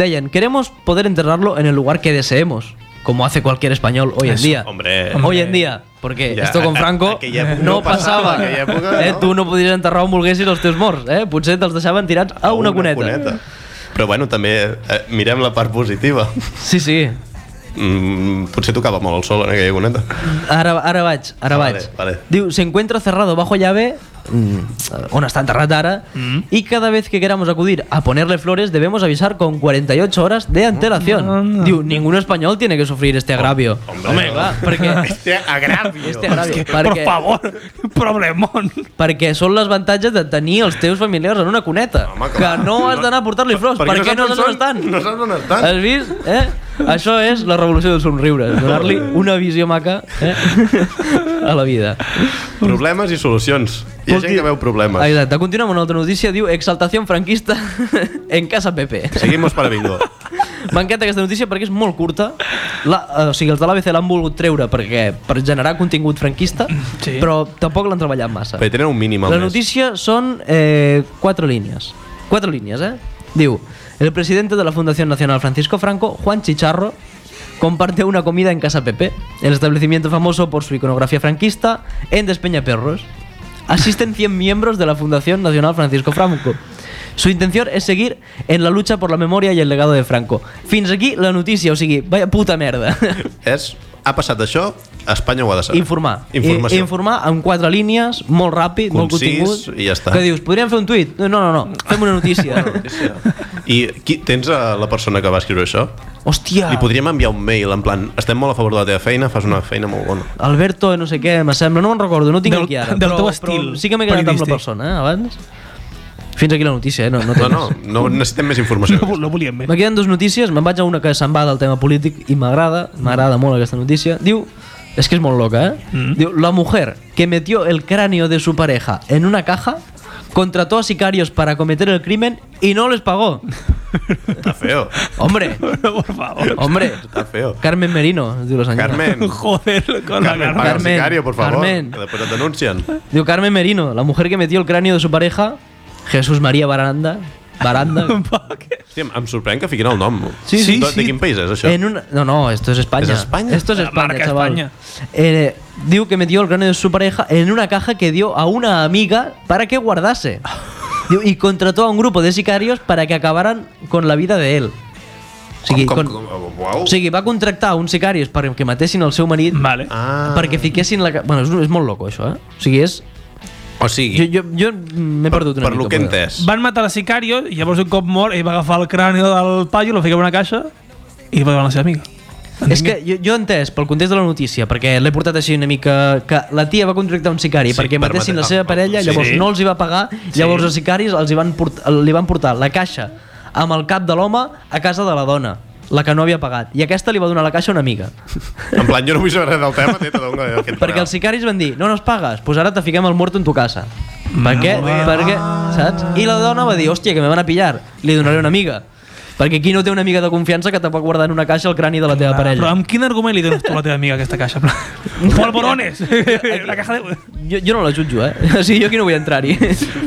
Speaker 3: Deyan, queremos poder enterrarlo en el lugar que deseemos, como hace cualquier español hoy en día.
Speaker 2: hombre.
Speaker 3: hoy en día, porque
Speaker 2: Ya,
Speaker 3: esto con
Speaker 2: a- a-
Speaker 3: Franco
Speaker 2: aquella època
Speaker 3: no
Speaker 2: no passava,
Speaker 3: pasaba.
Speaker 2: aquella època
Speaker 3: Eh,
Speaker 2: no.
Speaker 3: tu no podies enterrar on volguessis els teus morts, eh? Potser te'ls deixaven tirats a Ah, una, cuneta.
Speaker 2: Però bueno, també eh, mirem la part positiva.
Speaker 3: Sí, sí.
Speaker 2: Mm, potser tocava molt el sol en aquella cuneta.
Speaker 3: Ara, ara vaig, ara
Speaker 2: Ah,
Speaker 3: vaig.
Speaker 2: vale, vale.
Speaker 3: Diu, se encuentra cerrado bajo llave, mm, on está enterrat ara, y cada vez que queramos acudir a ponerle flores debemos avisar con 48 horas de antelación. Diu, ningún español tiene que sufrir este agravio.
Speaker 2: hombre, no.
Speaker 3: clar,
Speaker 2: <laughs>
Speaker 3: perquè...
Speaker 2: Hòstia, agràvio.
Speaker 3: Este agravio,
Speaker 4: Per
Speaker 3: perquè,
Speaker 4: favor, problemón.
Speaker 3: perquè són les avantatges de tenir els teus familiars en una cuneta.
Speaker 2: Home,
Speaker 3: que
Speaker 2: clar.
Speaker 3: no has d'anar a portar-li flors. Per, què no saps on estan?
Speaker 2: No saps on estan.
Speaker 3: Has vist? Eh? Això és la revolució dels somriures. Donar-li una visió maca eh? a la vida.
Speaker 2: Problemes i solucions. Hi ha gent que veu problemes.
Speaker 3: Ah, Exacte, continuem amb una altra notícia, diu exaltació franquista en casa Pepe.
Speaker 2: Seguimos para
Speaker 3: <laughs>
Speaker 2: bingo.
Speaker 3: M'encanta aquesta notícia perquè és molt curta. La, eh, o sigui, els de l'ABC l'han volgut treure perquè per generar contingut franquista,
Speaker 4: Sí.
Speaker 3: però tampoc l'han treballat massa.
Speaker 2: Perquè tenen un mínim al
Speaker 3: La
Speaker 2: mes.
Speaker 3: notícia són eh, quatre línies. Quatre línies, eh? Diu, el presidente de la Fundación Nacional Francisco Franco, Juan Chicharro, comparte una comida en Casa Pepe, el establecimiento famoso por su iconografía franquista, en Despeñaperros. Asisten 100 miembros de la Fundación Nacional Francisco Franco. Su intención es seguir en la lucha por la memoria y el legado de Franco. Fins aquí la notícia, o sigui, vaya puta merda. <laughs>
Speaker 2: És, ha passat això, Espanya ho ha de saber.
Speaker 3: Informar.
Speaker 2: Informació.
Speaker 3: I- Informar en quatre línies, molt ràpid,
Speaker 2: Concís,
Speaker 3: molt contingut.
Speaker 2: i ja està.
Speaker 3: Que dius, podríem fer un tuit? No, no, no, no. fem una
Speaker 2: <laughs>
Speaker 3: notícia.
Speaker 2: I qui, tens a la persona que va escriure això?
Speaker 3: Hòstia,
Speaker 2: Li podríem enviar un mail en plan, estem molt a favor de la teva feina, fas una feina molt bona.
Speaker 3: Alberto, no sé què, me sembla, no me'n recordo, no ho tinc
Speaker 4: Del-
Speaker 3: aquí ara.
Speaker 4: del
Speaker 3: però,
Speaker 4: teu estil
Speaker 3: Però sí que m'he quedat amb la
Speaker 4: periodístic.
Speaker 3: persona, eh, abans. Fins aquí la notícia, eh? No, no, té
Speaker 2: No, no,
Speaker 3: més.
Speaker 2: no necessitem més informació.
Speaker 4: No, no volíem més.
Speaker 3: Me queden dues notícies, me'n vaig a una que se'n va del tema polític i m'agrada, m'agrada molt aquesta notícia. Diu, és que és molt loca, eh? Diu, la mujer que metió el cráneo de su pareja en una caja contrató a sicarios para cometer el crimen y no les pagó.
Speaker 2: Està feo,
Speaker 3: Hombre,
Speaker 4: <laughs> Por favor.
Speaker 3: hombre.
Speaker 2: està feo.
Speaker 3: Carmen Merino, es diu la senyora.
Speaker 2: Carmen,
Speaker 4: Joder, con la
Speaker 2: Carmen,
Speaker 4: Carmen.
Speaker 2: paga el
Speaker 3: Carmen,
Speaker 2: sicario, por favor,
Speaker 3: Carmen.
Speaker 2: que després et denuncien.
Speaker 3: Diu Carmen Merino, la mujer que metió el cráneo de su pareja, Jesús María Baranda,
Speaker 4: <laughs>
Speaker 3: Baranda,
Speaker 2: Hòstia, em sorprèn que fiquin el nom.
Speaker 3: Sí, sí,
Speaker 2: De,
Speaker 3: sí.
Speaker 2: de quin país és això?
Speaker 3: en una... No, no, esto es España.
Speaker 2: ¿Es España?
Speaker 3: Esto es
Speaker 4: La
Speaker 3: España,
Speaker 4: marca
Speaker 3: chaval.
Speaker 4: España.
Speaker 3: Eh, diu que metió el cráneo de su pareja en una caja que dio a una amiga para
Speaker 2: <laughs>
Speaker 3: que guardase. Diu, y contrató a un grupo de sicarios para que acabaran con la vida de él. O sigui,
Speaker 2: com,
Speaker 3: con-
Speaker 2: com, com, uau.
Speaker 3: o sigui, va contractar uns sicaris perquè matessin el seu marit
Speaker 4: Vale.
Speaker 2: Ah.
Speaker 3: perquè fiquessin la... ca- Bueno, és, és molt loco, això, eh? O sigui, és...
Speaker 2: O sigui,
Speaker 3: Jo, jo, jo m'he perdut una
Speaker 2: per lo
Speaker 3: mica.
Speaker 2: que he
Speaker 3: però-
Speaker 2: entès.
Speaker 4: Van matar a Sicario i llavors un cop mort ell va agafar el crani del paio, lo fica en una caixa i va donar a la seva amiga.
Speaker 3: És que jo, jo he entès pel context de la notícia, perquè l'he portat així una mica, que la tia va contractar un sicari
Speaker 2: Sí,
Speaker 3: sí, perquè
Speaker 2: per
Speaker 3: matessin
Speaker 2: matar-
Speaker 3: la seva
Speaker 2: ah,
Speaker 3: parella,
Speaker 2: sí.
Speaker 3: llavors no els hi va pagar, llavors els sicaris els hi van port, li van portar la caixa amb el cap de l'home a casa de la dona, la que no havia pagat. I aquesta li va donar la caixa a una amiga.
Speaker 2: En plan, jo no vull saber res del tema, teta, d'on aquest
Speaker 3: Perquè els sicaris van dir, no nos pagues, doncs ara te fiquem el mort en tu casa.
Speaker 2: Ah,
Speaker 3: Per què? Perquè, saps? I la dona va dir, hòstia, que me van a pillar, li donaré una amiga. Perquè aquí no té una mica de confiança que te pot guardar en una caixa el crani de la teva
Speaker 4: Ah, Però
Speaker 3: parella.
Speaker 4: amb quin argument li dones tu a la teva amiga aquesta caixa?
Speaker 3: <laughs>
Speaker 4: Polvorones! <laughs> la caja de...
Speaker 3: Jo, jo no la jutjo, eh? <laughs> O sigui, jo aquí no vull
Speaker 4: <laughs>
Speaker 3: entrar-hi.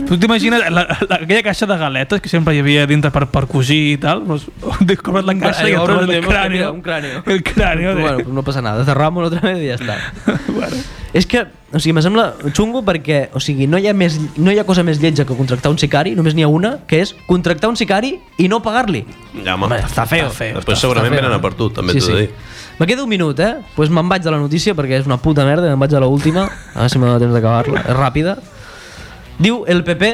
Speaker 4: Tu t'imagines la, la, aquella caixa de galetes que sempre hi havia dintre per, per cosir i tal? Doncs, descobres la caixa i et
Speaker 3: Obres
Speaker 4: trobes
Speaker 3: de
Speaker 4: el
Speaker 3: Dios,
Speaker 4: crani.
Speaker 3: mira, un cráneo.
Speaker 4: El crani.
Speaker 3: Però,
Speaker 4: De...
Speaker 3: bueno,
Speaker 4: <laughs>
Speaker 3: pues no passa nada, cerramos otra vez i ja està. bueno. És que, o sigui, me sembla xungo perquè, o sigui, no hi, ha més, no hi ha cosa més lletja que contractar un sicari, només n'hi ha una, que és contractar un sicari i no pagar-li.
Speaker 2: Ja, home.
Speaker 4: està feo. Està feo.
Speaker 2: Després segurament
Speaker 3: feo.
Speaker 2: venen a per tu, també sí, t'ho sí. dic.
Speaker 3: Me queda un minut, eh? Doncs pues me'n vaig de la notícia perquè és una puta merda, me'n vaig a l'última, a veure si m'ha de temps d'acabar-la, és ràpida. Diu el PP,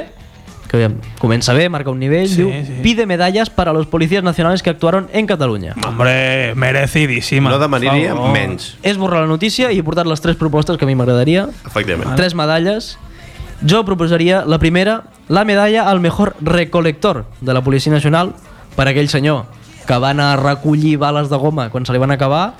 Speaker 3: que aviam, comença bé, marca un nivell,
Speaker 4: Sí,
Speaker 3: diu,
Speaker 4: sí.
Speaker 3: pide medallas para los policías nacionales que actuaron en Catalunya.
Speaker 4: Hombre, merecidíssima.
Speaker 2: No demanaria
Speaker 4: Por favor.
Speaker 2: menys,
Speaker 3: És borrar la notícia i he portat les tres propostes que a mi m'agradaria.
Speaker 2: efectivament.
Speaker 3: Tres medalles. Jo proposaria la primera, la medalla al mejor recolector de la Policia Nacional per aquell senyor que va anar a recollir bales de goma quan se li van acabar.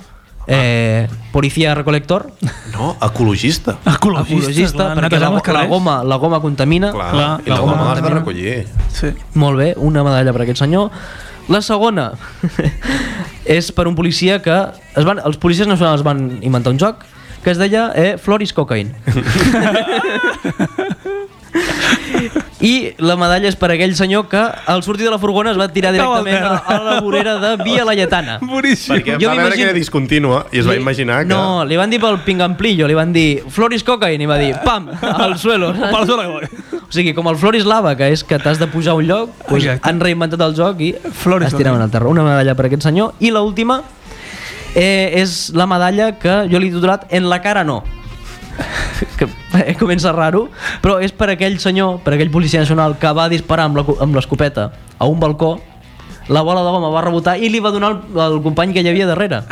Speaker 3: Eh, policia recolector,
Speaker 2: No, ecologista.
Speaker 4: Ecologista,
Speaker 3: ecologista,
Speaker 4: clar,
Speaker 3: perquè la,
Speaker 4: netejant els
Speaker 3: la
Speaker 4: carrers.
Speaker 3: goma, la goma contamina.
Speaker 2: Clar,
Speaker 4: Clar,
Speaker 2: i
Speaker 4: la
Speaker 2: la goma
Speaker 4: goma
Speaker 2: l'has de
Speaker 4: també.
Speaker 2: recollir.
Speaker 4: Sí.
Speaker 3: Molt bé, una medalla per aquest senyor. La segona <laughs> és per un policia que... Es van, els policies nacionals van inventar un joc que es deia eh, Floris Cocaine. I la medalla és per aquell senyor que al sortir de la furgona es va tirar directament a, a la vorera de Via Laietana.
Speaker 4: Boníssim.
Speaker 2: Perquè
Speaker 3: Jo
Speaker 2: va veure
Speaker 3: m'imagino-
Speaker 2: que era discontínua i es va imaginar que...
Speaker 3: No, li van dir pel pingamplillo, li van dir Floris Cocaine i va dir pam, al suelo.
Speaker 4: Pel sol que voy.
Speaker 3: O sigui, com el Floris Lava, que és que t'has de pujar a un lloc, pues,
Speaker 4: Exacte.
Speaker 3: han reinventat el joc i
Speaker 4: Floris
Speaker 3: es tiraven
Speaker 4: Lava.
Speaker 3: al terra. Una medalla per aquest senyor. I l'última eh, és la medalla que jo li he titulat En la cara no. <laughs> que eh, comença raro, però és per aquell senyor, per aquell policia nacional que va disparar amb la cu- amb l'escopeta a un balcó, la bola de goma va rebotar i li va donar el, el company que hi havia darrere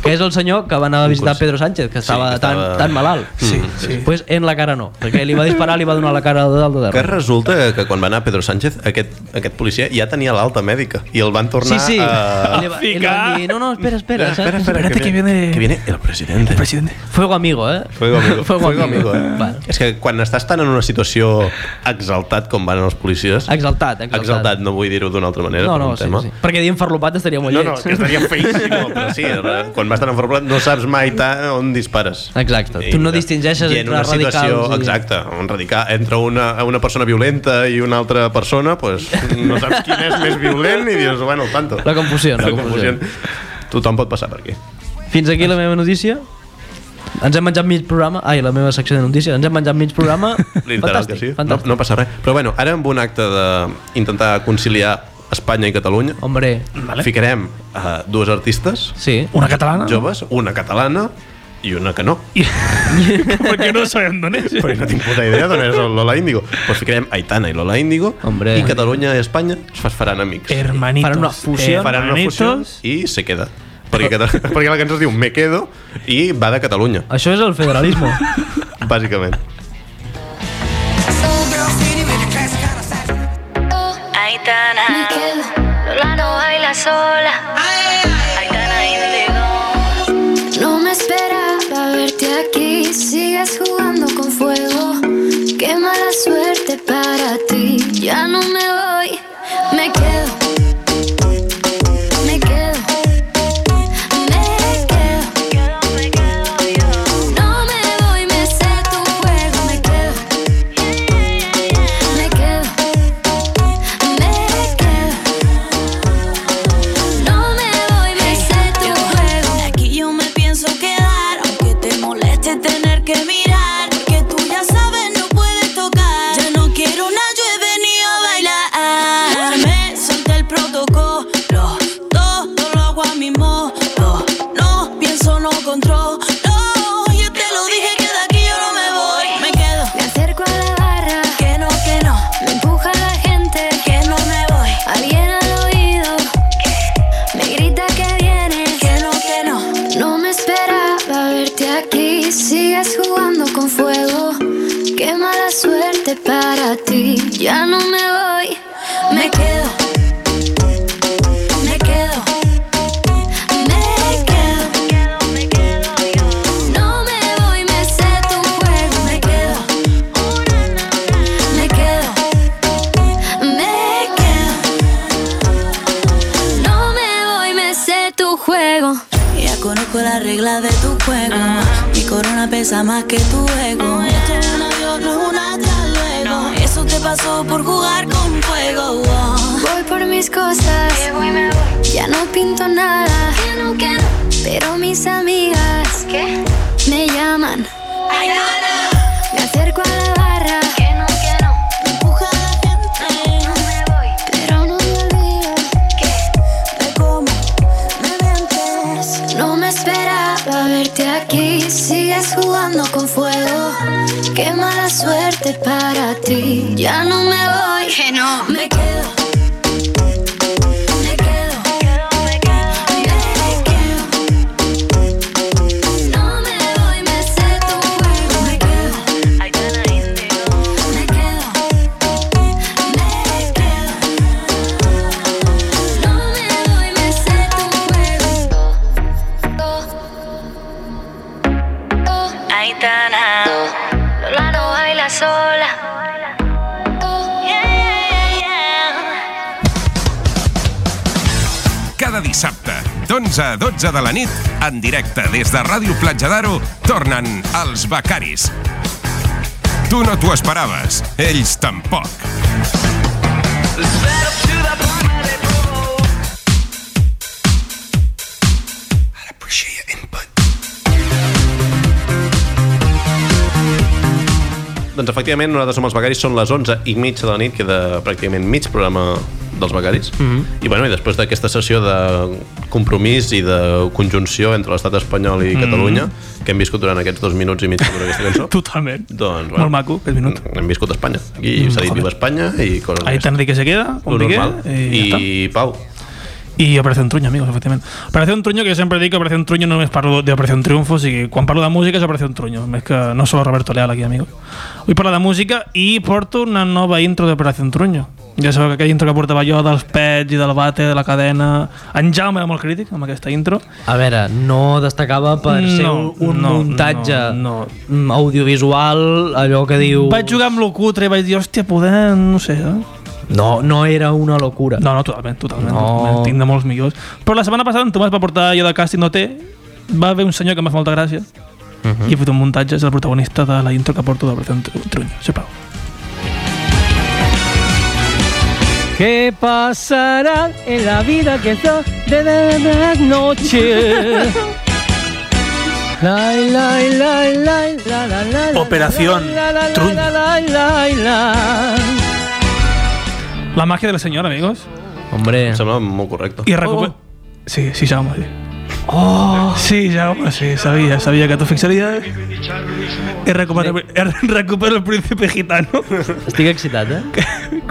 Speaker 3: que és el senyor que va anar a visitar Pedro Sánchez, que estava,
Speaker 2: que
Speaker 3: tan,
Speaker 2: estava-
Speaker 3: tan malalt. Sí, sí. Pues en la cara no, perquè li va disparar, li va donar la cara de dalt
Speaker 2: Que
Speaker 3: de darrere.
Speaker 2: resulta que quan va anar Pedro Sánchez, aquest, aquest policia ja tenia l'alta mèdica i el van tornar
Speaker 3: Sí, sí.
Speaker 2: a...
Speaker 3: Le va- le van dir, no, no, espera, espera.
Speaker 2: espera,
Speaker 3: ¿sabes?
Speaker 2: espera,
Speaker 4: Espérate que viene-
Speaker 2: que viene el presidente.
Speaker 4: Presidente.
Speaker 3: Fuego amigo, eh?
Speaker 2: Fuego amigo.
Speaker 3: <laughs> Fuego amigo.
Speaker 2: eh?
Speaker 3: Vale.
Speaker 2: És que quan estàs tan en una situació exaltat com van els policies...
Speaker 3: Exaltat,
Speaker 2: Exaltat,
Speaker 3: exaltat.
Speaker 2: no vull dir-ho d'una altra manera.
Speaker 3: No,
Speaker 2: per
Speaker 3: no,
Speaker 2: un
Speaker 3: sí,
Speaker 2: tema.
Speaker 3: sí. Perquè dient farlopat estaria molt
Speaker 2: No,
Speaker 3: lleig.
Speaker 2: no, que estaria feíssim, però sí, eh, quan vas tan enforblat no saps mai ta- on dispares.
Speaker 3: Exacte. Tu no distingeixes
Speaker 2: I en
Speaker 3: entre
Speaker 2: una situació,
Speaker 3: radicals i-
Speaker 2: Exacte, un radical, entre una, una persona violenta i una altra persona, pues, no saps quin és més violent i dius, bueno, tanto.
Speaker 3: La confusió, la
Speaker 2: La confusió.
Speaker 3: confusió.
Speaker 2: Tothom pot passar per aquí.
Speaker 3: Fins aquí la meva notícia. Ens hem menjat mig programa. Ai, la meva secció de notícies. Ens hem menjat mig programa.
Speaker 2: <laughs> Literal que
Speaker 3: fantàstic,
Speaker 2: sí. No,
Speaker 3: fantàstic.
Speaker 2: no passa res. Però bueno, ara amb un acte d'intentar conciliar Espanya i Catalunya,
Speaker 3: Hombre,
Speaker 2: vale. ficarem uh, dues artistes
Speaker 3: sí.
Speaker 4: Una catalana?
Speaker 2: joves, una catalana i una que no.
Speaker 4: <laughs> Perquè no sabem d'on és.
Speaker 2: Perquè no tinc puta idea d'on és el Lola Índigo. Doncs pues ficarem Aitana i Lola Índigo
Speaker 3: Hombre.
Speaker 2: i Catalunya i Espanya es fas- faran amics.
Speaker 4: Hermanitos.
Speaker 3: Faran una fusió.
Speaker 2: faran una fusió
Speaker 4: Hermanitos.
Speaker 2: i se queda. Perquè, Cata- <laughs> perquè la cançó es diu Me quedo i va de Catalunya,
Speaker 3: Això és el
Speaker 2: <laughs>
Speaker 3: federalisme.
Speaker 2: bàsicament.
Speaker 7: Aitana, Lola no baila sola. Aitana Indigo.
Speaker 8: No me esperaba verte aquí, sigues jugando con fuego. Qué mala suerte para ti, ya no me voy, me quedo. Me quedo, me quedo.
Speaker 7: Quedo, me quedo yo.
Speaker 8: No me voy, me sé tu juego, me quedo. Me quedo, me quedo. No me voy, me sé tu juego.
Speaker 7: Aquí yo me pienso quedar, aunque te moleste tener que mirar, porque tú ya sabes no puedes tocar. Ya no quiero nada, yo he venido a bailar. Me solté el protocolo, todo lo hago a mi modo. No pienso, no controlo. Yo te lo dije que de aquí yo no me voy. Me quedo,
Speaker 8: Me acerco a la barra,
Speaker 7: que no, que no,
Speaker 8: me empuja la gente,
Speaker 7: que no me voy.
Speaker 8: alguien al oído, me grita que vienes.
Speaker 7: Que no, que no,
Speaker 8: No me esperaba verte aquí, sigues jugando con fuego. Qué mala suerte para ti, ya no me voy, me quedo. Me quedo, me quedo.
Speaker 7: quedo, me quedo yo.
Speaker 8: No me voy, me sé tu juego, me quedo. Me quedo, me quedo.
Speaker 7: reglas de tu juego. Mi corona pesa más que tu ego. Esto es un adiós, no es un hasta luego. Eso te pasó por jugar con fuego. oh.
Speaker 8: Voy por mis cosas. Ya no pinto nada. Pero mis amigas me llaman. Me acerco a la barra.
Speaker 7: Empuja a la gente.
Speaker 8: Pero no me olvido
Speaker 7: De cómo me mientes.
Speaker 8: No me esperaba verte aquí. Sigues jugando con fuego. Qué mala suerte para ti. Ya no me voy. Que no. Me quedo.
Speaker 7: Me quedo, me quedo, me quedo.
Speaker 8: No me voy. Me sé tu juego.
Speaker 7: Me quedo. Me quedo. Me quedo.
Speaker 8: No me voy. Me sé tu juego. Oh, oh, oh.
Speaker 7: Aitana.
Speaker 8: Lola no baila sola. Oh.
Speaker 1: Cada dissabte, d'11 a 12 de la nit, en directe des de Ràdio Platja d'Aro, tornen els becaris. Tu no t'ho esperaves, ells tampoc.
Speaker 2: Doncs efectivament, nosaltres som els becaris, són les 11 i mitja de la nit, queda pràcticament mig programa dels becaris. Mm
Speaker 4: Mhm.
Speaker 2: -hmm. I, bueno, i després d'aquesta sessió de compromís i de conjunció entre l'estat espanyol
Speaker 4: Mhm.
Speaker 2: i mm -hmm. Catalunya, que hem viscut durant aquests dos minuts i mig que dura aquesta cançó,
Speaker 4: Totalment.
Speaker 2: doncs,
Speaker 4: Molt maco, aquest minut.
Speaker 2: hem viscut a Espanya. Aquí s'ha dit
Speaker 4: joder.
Speaker 2: viva Espanya i coses
Speaker 4: Ahí
Speaker 2: d'aquestes.
Speaker 4: tan que se queda,
Speaker 2: Lo
Speaker 4: un piqué,
Speaker 2: normal.
Speaker 4: i ja
Speaker 2: I, Pau,
Speaker 4: I Operación Truño, amigos, efectivamente. Operación Truño, que yo siempre digo que Operación Truño no me parlo de Operación Triunfo, así que cuando hablo de música es Operación Truño. Es que no solo Roberto Leal aquí, amigos. Hoy parlo de música y porto una nueva intro de Operación Truño. Ja sabeu que aquella intro que portava jo dels pets i del bate, de la cadena... En Jaume era molt crític amb aquesta intro.
Speaker 3: A veure, no destacava per ser
Speaker 4: No,
Speaker 3: un
Speaker 4: no,
Speaker 3: muntatge
Speaker 4: no, no.
Speaker 3: mm, audiovisual, allò que diu...
Speaker 4: Vaig jugar amb lo cutre i vaig dir, hòstia, poder... no sé, eh?
Speaker 3: No, no era una locura.
Speaker 4: No, no, totalment, totalment.
Speaker 3: No.
Speaker 4: No. Tinc de molts millors. Però la setmana passada en Tomàs va portar jo de càsting no té, va haver un senyor que em va fer molta gràcia uh -huh. i he fet un muntatge, és el protagonista de la intro que porto de Brazen Truño. Sí, Pau.
Speaker 3: ¿Qué pasará en la vida que está de de- de la
Speaker 4: <laughs>
Speaker 3: noche? Lai, lai, lai, lai, la, la, la, la,
Speaker 9: Operación
Speaker 3: la, la, la,
Speaker 9: Truño.
Speaker 3: la, la, la, la.
Speaker 4: La màgia de la senyora, amigos.
Speaker 3: Hombre,
Speaker 2: em sembla molt correcte.
Speaker 4: I recuper... Oh. Sí, sí, Jaume, sí. Oh. Sí, Jaume, sí, sabia, sabia que t'ho fixaries. He recuperat, he recuperat el príncipe <laughs> gitano.
Speaker 3: estic excitat, eh?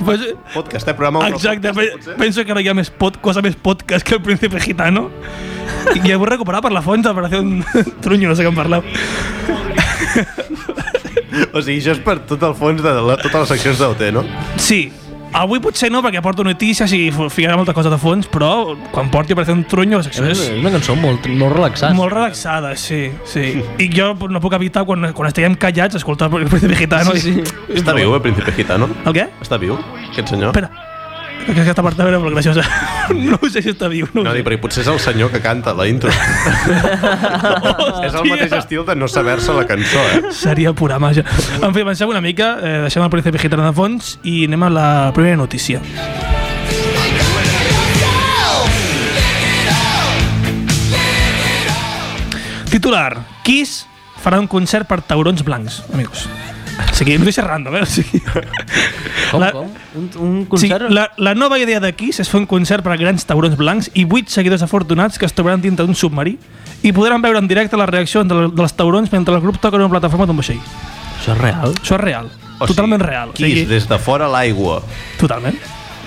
Speaker 4: Pues,
Speaker 2: Podcast, eh? Programa...
Speaker 4: Exacte, pe penso que ara hi ha més pod cosa més podcast que el príncipe gitano. I ja vull recuperar per la font d'operació <laughs> Truño, no sé què en parlau.
Speaker 2: O sigui, això és per tot el fons de la, totes les seccions d'OT, no?
Speaker 4: Sí, avui potser no, perquè porto notícies i fo- ficaré moltes coses de fons, però quan porti operació Truño la secció és
Speaker 3: És una cançó molt, molt relaxant.
Speaker 4: molt relaxada, sí, sí. I jo no puc evitar, quan, quan estiguem callats, escoltar el príncipe gitano. Sí, sí.
Speaker 2: Està viu, el príncipe gitano?
Speaker 4: El què?
Speaker 2: Està viu, aquest senyor?
Speaker 4: Espera, que aquesta part era molt graciosa. <laughs> No ho sé si està viu, no ho
Speaker 2: No,
Speaker 4: sé.
Speaker 2: dic, perquè potser és el senyor que canta la
Speaker 4: <laughs>
Speaker 2: intro. és el mateix estil de no saber-se la cançó, eh?
Speaker 4: Seria pura màgia. En fi, avancem una mica, eh, deixem el príncipe gitano de fons i anem a la primera notícia. Titular. Kiss farà un concert per taurons blancs, amics. O sigui, notícia random, eh? O sigui,
Speaker 3: Com,
Speaker 4: la-
Speaker 3: com? Un, un
Speaker 4: Sí,
Speaker 3: concert?
Speaker 4: la, la nova idea de Kiss és fer un concert per a grans taurons blancs i vuit seguidors afortunats que es trobaran dintre d'un submarí i podran veure en directe les reaccions de, dels taurons mentre el grup toca en una plataforma d'un vaixell.
Speaker 3: Això és real?
Speaker 4: Això és real. O totalment real.
Speaker 2: Qui és des de fora l'aigua?
Speaker 4: totalment.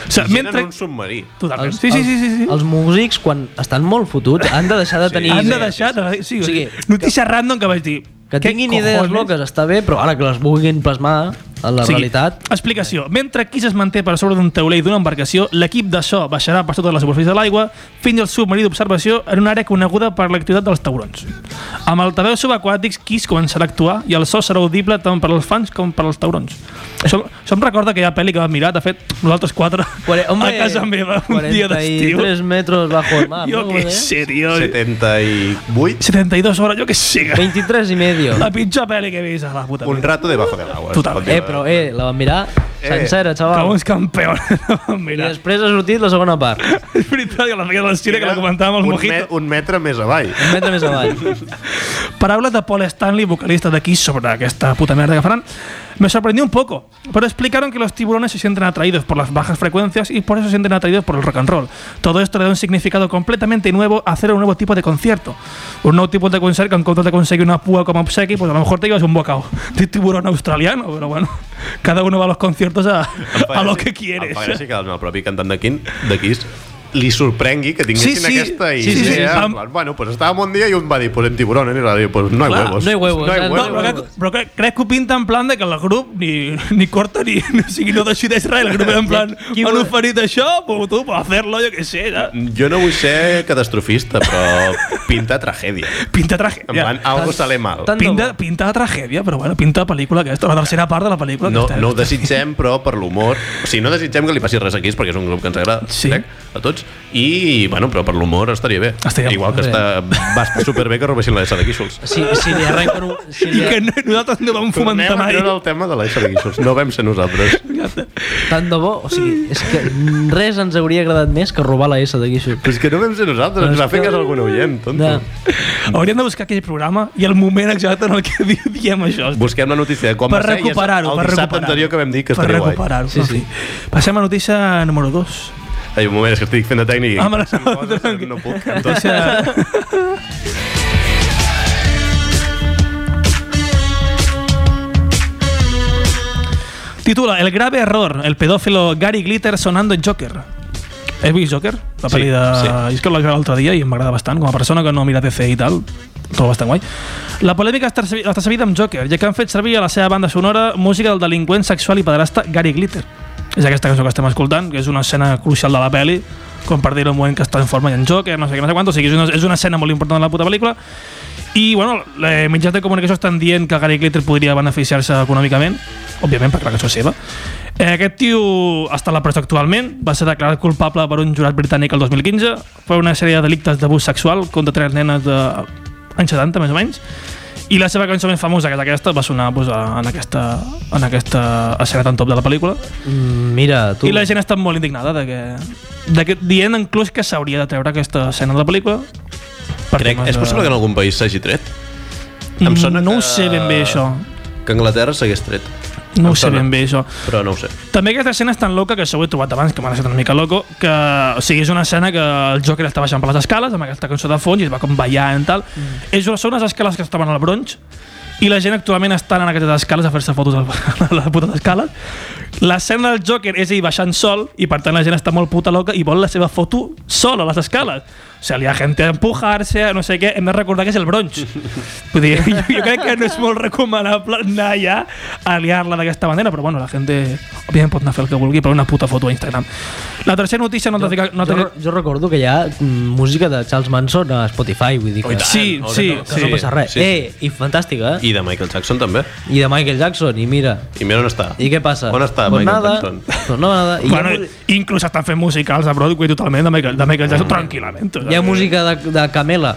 Speaker 4: O sigui,
Speaker 2: Mentre...
Speaker 4: mentre...
Speaker 2: en un submarí.
Speaker 4: Totalment. Sí, sí, sí, sí. sí.
Speaker 3: Els músics, quan estan molt fotuts, han de
Speaker 4: <laughs>
Speaker 3: deixar de tenir...
Speaker 4: Han de
Speaker 3: idees.
Speaker 4: deixar... De... Sí,
Speaker 3: O
Speaker 4: o sigui,
Speaker 3: sigui,
Speaker 4: notícia random que vaig dir.
Speaker 3: Que
Speaker 4: Què
Speaker 3: tinguin idees
Speaker 4: cojones?
Speaker 3: loques està bé, però ara que les vulguin plasmar a la
Speaker 4: O sigui,
Speaker 3: realitat...
Speaker 4: Explicació. Mentre Kiss es manté per sobre d'un tauler i d'una embarcació, l'equip de so baixarà per sota de la superfície de l'aigua fins al submarí d'observació en una àrea coneguda per l'activitat dels taurons. Amb altaveus subaquàtics, Kiss començarà a actuar i el so serà audible tant per als fans com per als taurons. Això, això em recorda aquella pel·li que vam mirar, de fet, nosaltres quatre,
Speaker 3: Cuare- hombre,
Speaker 4: a casa meva, un dia d'estiu.
Speaker 3: 43 metros bajo el mar.
Speaker 4: Jo
Speaker 3: ¿no?
Speaker 4: què
Speaker 3: ¿Eh?
Speaker 4: sé, tio.
Speaker 2: 78.
Speaker 4: 72 hores, jo què sé.
Speaker 3: 23 y
Speaker 4: <laughs>
Speaker 3: medio.
Speaker 4: La pitjor pel·li que he vist a la puta
Speaker 2: Un
Speaker 4: vida.
Speaker 2: rato debajo del agua.
Speaker 4: Total.
Speaker 2: es pot dir.
Speaker 3: Eh, però, eh, la van mirar sencera,
Speaker 4: Cabo
Speaker 3: xaval.
Speaker 4: és campió. <laughs>
Speaker 3: I
Speaker 4: Mira,
Speaker 3: després ha sortit la segona part.
Speaker 4: <laughs>
Speaker 3: Un
Speaker 4: és veritat que la feia de l'Estira, eh, que la comentàvem al
Speaker 2: un,
Speaker 4: Mojito.
Speaker 2: me- un metre més avall.
Speaker 3: metre més avall.
Speaker 4: Paraules de Paul Stanley, vocalista de Kiss, sobre aquesta puta mierda que farán. Me sorprendió un poco, pero explicaron que los tiburones se sienten atraídos por las bajas frecuencias y por eso se sienten atraídos por el rock and roll. Todo esto le da un significado completamente nuevo a hacer un nuevo tipo de concierto. Un nuevo tipo de concierto que en contra de conseguir una púa como obsequio, pues a lo mejor te llevas un bocado de tiburón australiano, pero bueno, <laughs> cada uno va a los conciertos a, a lo que
Speaker 2: Em
Speaker 4: quieres.
Speaker 2: fa gràcia que el propi cantant de, Kin, de Kiss li sorprengui que tinguessin
Speaker 4: Sí, sí,
Speaker 2: aquesta
Speaker 4: sí,
Speaker 2: idea.
Speaker 4: sí, sí, sí.
Speaker 2: en plan, bueno, pues estàvem un dia i un va dir, pues en tiburón, eh? I va dir, pues no hay
Speaker 4: Clar,
Speaker 2: huevos.
Speaker 3: no hay huevos,
Speaker 2: No hay
Speaker 3: eh, no
Speaker 4: No,
Speaker 2: huevos.
Speaker 4: però, que, però que, crec que ho pinta en plan de que el grup ni, ni corta ni, <laughs> ni, o sigui, no decideix res. El grup era en
Speaker 2: <laughs>
Speaker 4: plan,
Speaker 3: Qui
Speaker 4: m'han
Speaker 3: vol-
Speaker 4: oferit això, pues tu, per fer-lo, jo què sé. Ja.
Speaker 2: Jo no vull ser catastrofista, però pinta tragèdia.
Speaker 4: Pinta tragèdia.
Speaker 2: En plan, algo sale mal.
Speaker 3: Tant de
Speaker 4: Pinta,
Speaker 3: bo.
Speaker 4: pinta tragèdia, però bueno, pinta pel·lícula aquesta, la tercera part de la pel·lícula.
Speaker 2: No,
Speaker 4: aquesta,
Speaker 2: no ho desitgem, però per l'humor... O sigui, no desitgem que li passi res aquí, perquè és un grup que ens agrada,
Speaker 4: Sí.
Speaker 2: sí. crec, a tots. I, bueno, però per l'humor estaria bé.
Speaker 4: Estaria
Speaker 2: Igual
Speaker 4: molt
Speaker 2: que
Speaker 3: bé.
Speaker 2: està, va estar superbé que robessin la S de Guíxols.
Speaker 3: Si, si li arrenquen un... Si
Speaker 4: <laughs> I
Speaker 3: li,
Speaker 4: <laughs> que no, nosaltres no vam
Speaker 2: Tornem
Speaker 4: fomentar
Speaker 2: a
Speaker 4: mai.
Speaker 2: treure el tema de la S de Guíxols. No vam ser nosaltres.
Speaker 3: tant de bo, o sigui, és que res ens hauria agradat més que robar la S de Guixo.
Speaker 2: Però és que no vam ser nosaltres, ens va fer cas algun oient, tonto.
Speaker 3: No.
Speaker 4: Hauríem de buscar aquell programa i el moment exacte en el que di- diem això.
Speaker 2: Busquem la notícia de quan
Speaker 4: per
Speaker 2: va ser i és
Speaker 4: recuperar-ho,
Speaker 2: el
Speaker 4: per
Speaker 2: dissabte
Speaker 4: recuperar-ho.
Speaker 2: anterior que vam dir que
Speaker 4: per
Speaker 2: estaria guai.
Speaker 4: recuperar-ho.
Speaker 3: Sí,
Speaker 4: en
Speaker 3: sí.
Speaker 4: fi. Passem a notícia número 2.
Speaker 2: Ai, un moment, és que estic fent de tècnic.
Speaker 3: Ah,
Speaker 4: Home, no,
Speaker 2: no, no, no puc. Entonces,
Speaker 4: Titula El grave error, el pedófilo Gary Glitter sonando en Joker. Has vist Joker? La pel·li de...
Speaker 2: sí.
Speaker 4: És que la vaig veure l'altre dia i em va agradar bastant. Com a persona que no mira TC i tal, trobo bastant guai. La polèmica està servi- està servida amb Joker, ja que han fet servir a la seva banda sonora música del delinqüent sexual i pederasta Gary Glitter. És aquesta cançó que estem escoltant, que és una escena crucial de la pel·li, com per dir el moment que està en forma i en Joker, no sé què, no sé quant, o sigui, és una, és una escena molt important de la puta pel·lícula, i, bueno, eh, mitjans de comunicació estan dient que Gary Glitter podria beneficiar-se econòmicament, òbviament, perquè la cançó és seva. Eh, aquest tio està a la presó actualment, va ser declarat culpable per un jurat britànic el 2015 per una sèrie de delictes d'abús sexual contra tres nenes de anys 70, més o menys, i la seva cançó més famosa, que és aquesta, va sonar pues, a- en, aquesta, en aquesta escena tan top de la pel·lícula.
Speaker 3: Mm, Mira, tu...
Speaker 4: I la gent està molt indignada de que, de que dient inclús que s'hauria de treure aquesta escena de la pel·lícula. per
Speaker 2: crec,
Speaker 4: temes
Speaker 2: és
Speaker 4: de-
Speaker 2: possible que en algun país s'hagi tret? Em sona
Speaker 4: Mm, no
Speaker 2: que-
Speaker 4: ho sé ben bé, això.
Speaker 2: Que Anglaterra s'hagués tret,
Speaker 4: No
Speaker 2: Em
Speaker 4: ho sé
Speaker 2: sona.
Speaker 4: ben bé, això.
Speaker 2: però no ho sé.
Speaker 4: També aquesta escena és tan loca, que això ho he trobat abans, que m'ha deixat una mica loco, que, o sigui, és una escena que el Joker està baixant per les escales, amb aquesta cançó de fons, i es va com ballant i tal.
Speaker 2: Mm.
Speaker 4: És, són unes escales que estaven al Bronx, i la gent actualment està anant a aquestes escales a fer-se fotos al- <laughs> a la puta escala. L'escena del Joker és ell baixant sol i per tant la gent està molt puta loca i vol la seva foto sol a les escales. O sigui, hi ha gent a empujar-se, no sé què, hem de recordar que és el Bronx. Vull dir, <laughs> jo, jo crec que no és molt recomanable anar allà a liar-la d'aquesta manera, però bueno, la gent, òbviament, pot anar a fer el que vulgui, però una puta foto a Instagram. La tercera notícia no t'ha ficat... No
Speaker 3: jo,
Speaker 4: t'ha-
Speaker 3: re- jo recordo que hi ha mm, música de Charles Manson a Spotify, vull dir que,
Speaker 4: sí,
Speaker 2: no,
Speaker 4: sí,
Speaker 2: no,
Speaker 3: que Oh, no
Speaker 4: sí.
Speaker 3: passa res.
Speaker 2: Oh, sí.
Speaker 3: Eh, i fantàstica, eh?
Speaker 2: I de Michael Jackson també.
Speaker 3: I, de Michael Jackson, i mira...
Speaker 2: I mira on està.
Speaker 3: I què passa?
Speaker 2: On està
Speaker 3: pues
Speaker 2: Michael
Speaker 3: nada,
Speaker 2: Jackson?
Speaker 3: <laughs> Pues no, nada. I
Speaker 4: Bueno,
Speaker 3: hi, ha, mu-
Speaker 4: inclús estan fent musicals a Broadway totalment de Michael, de Michael Jackson, tranquil·lament. o sigui.
Speaker 3: hi ha música de, de
Speaker 2: <laughs>
Speaker 3: Camela.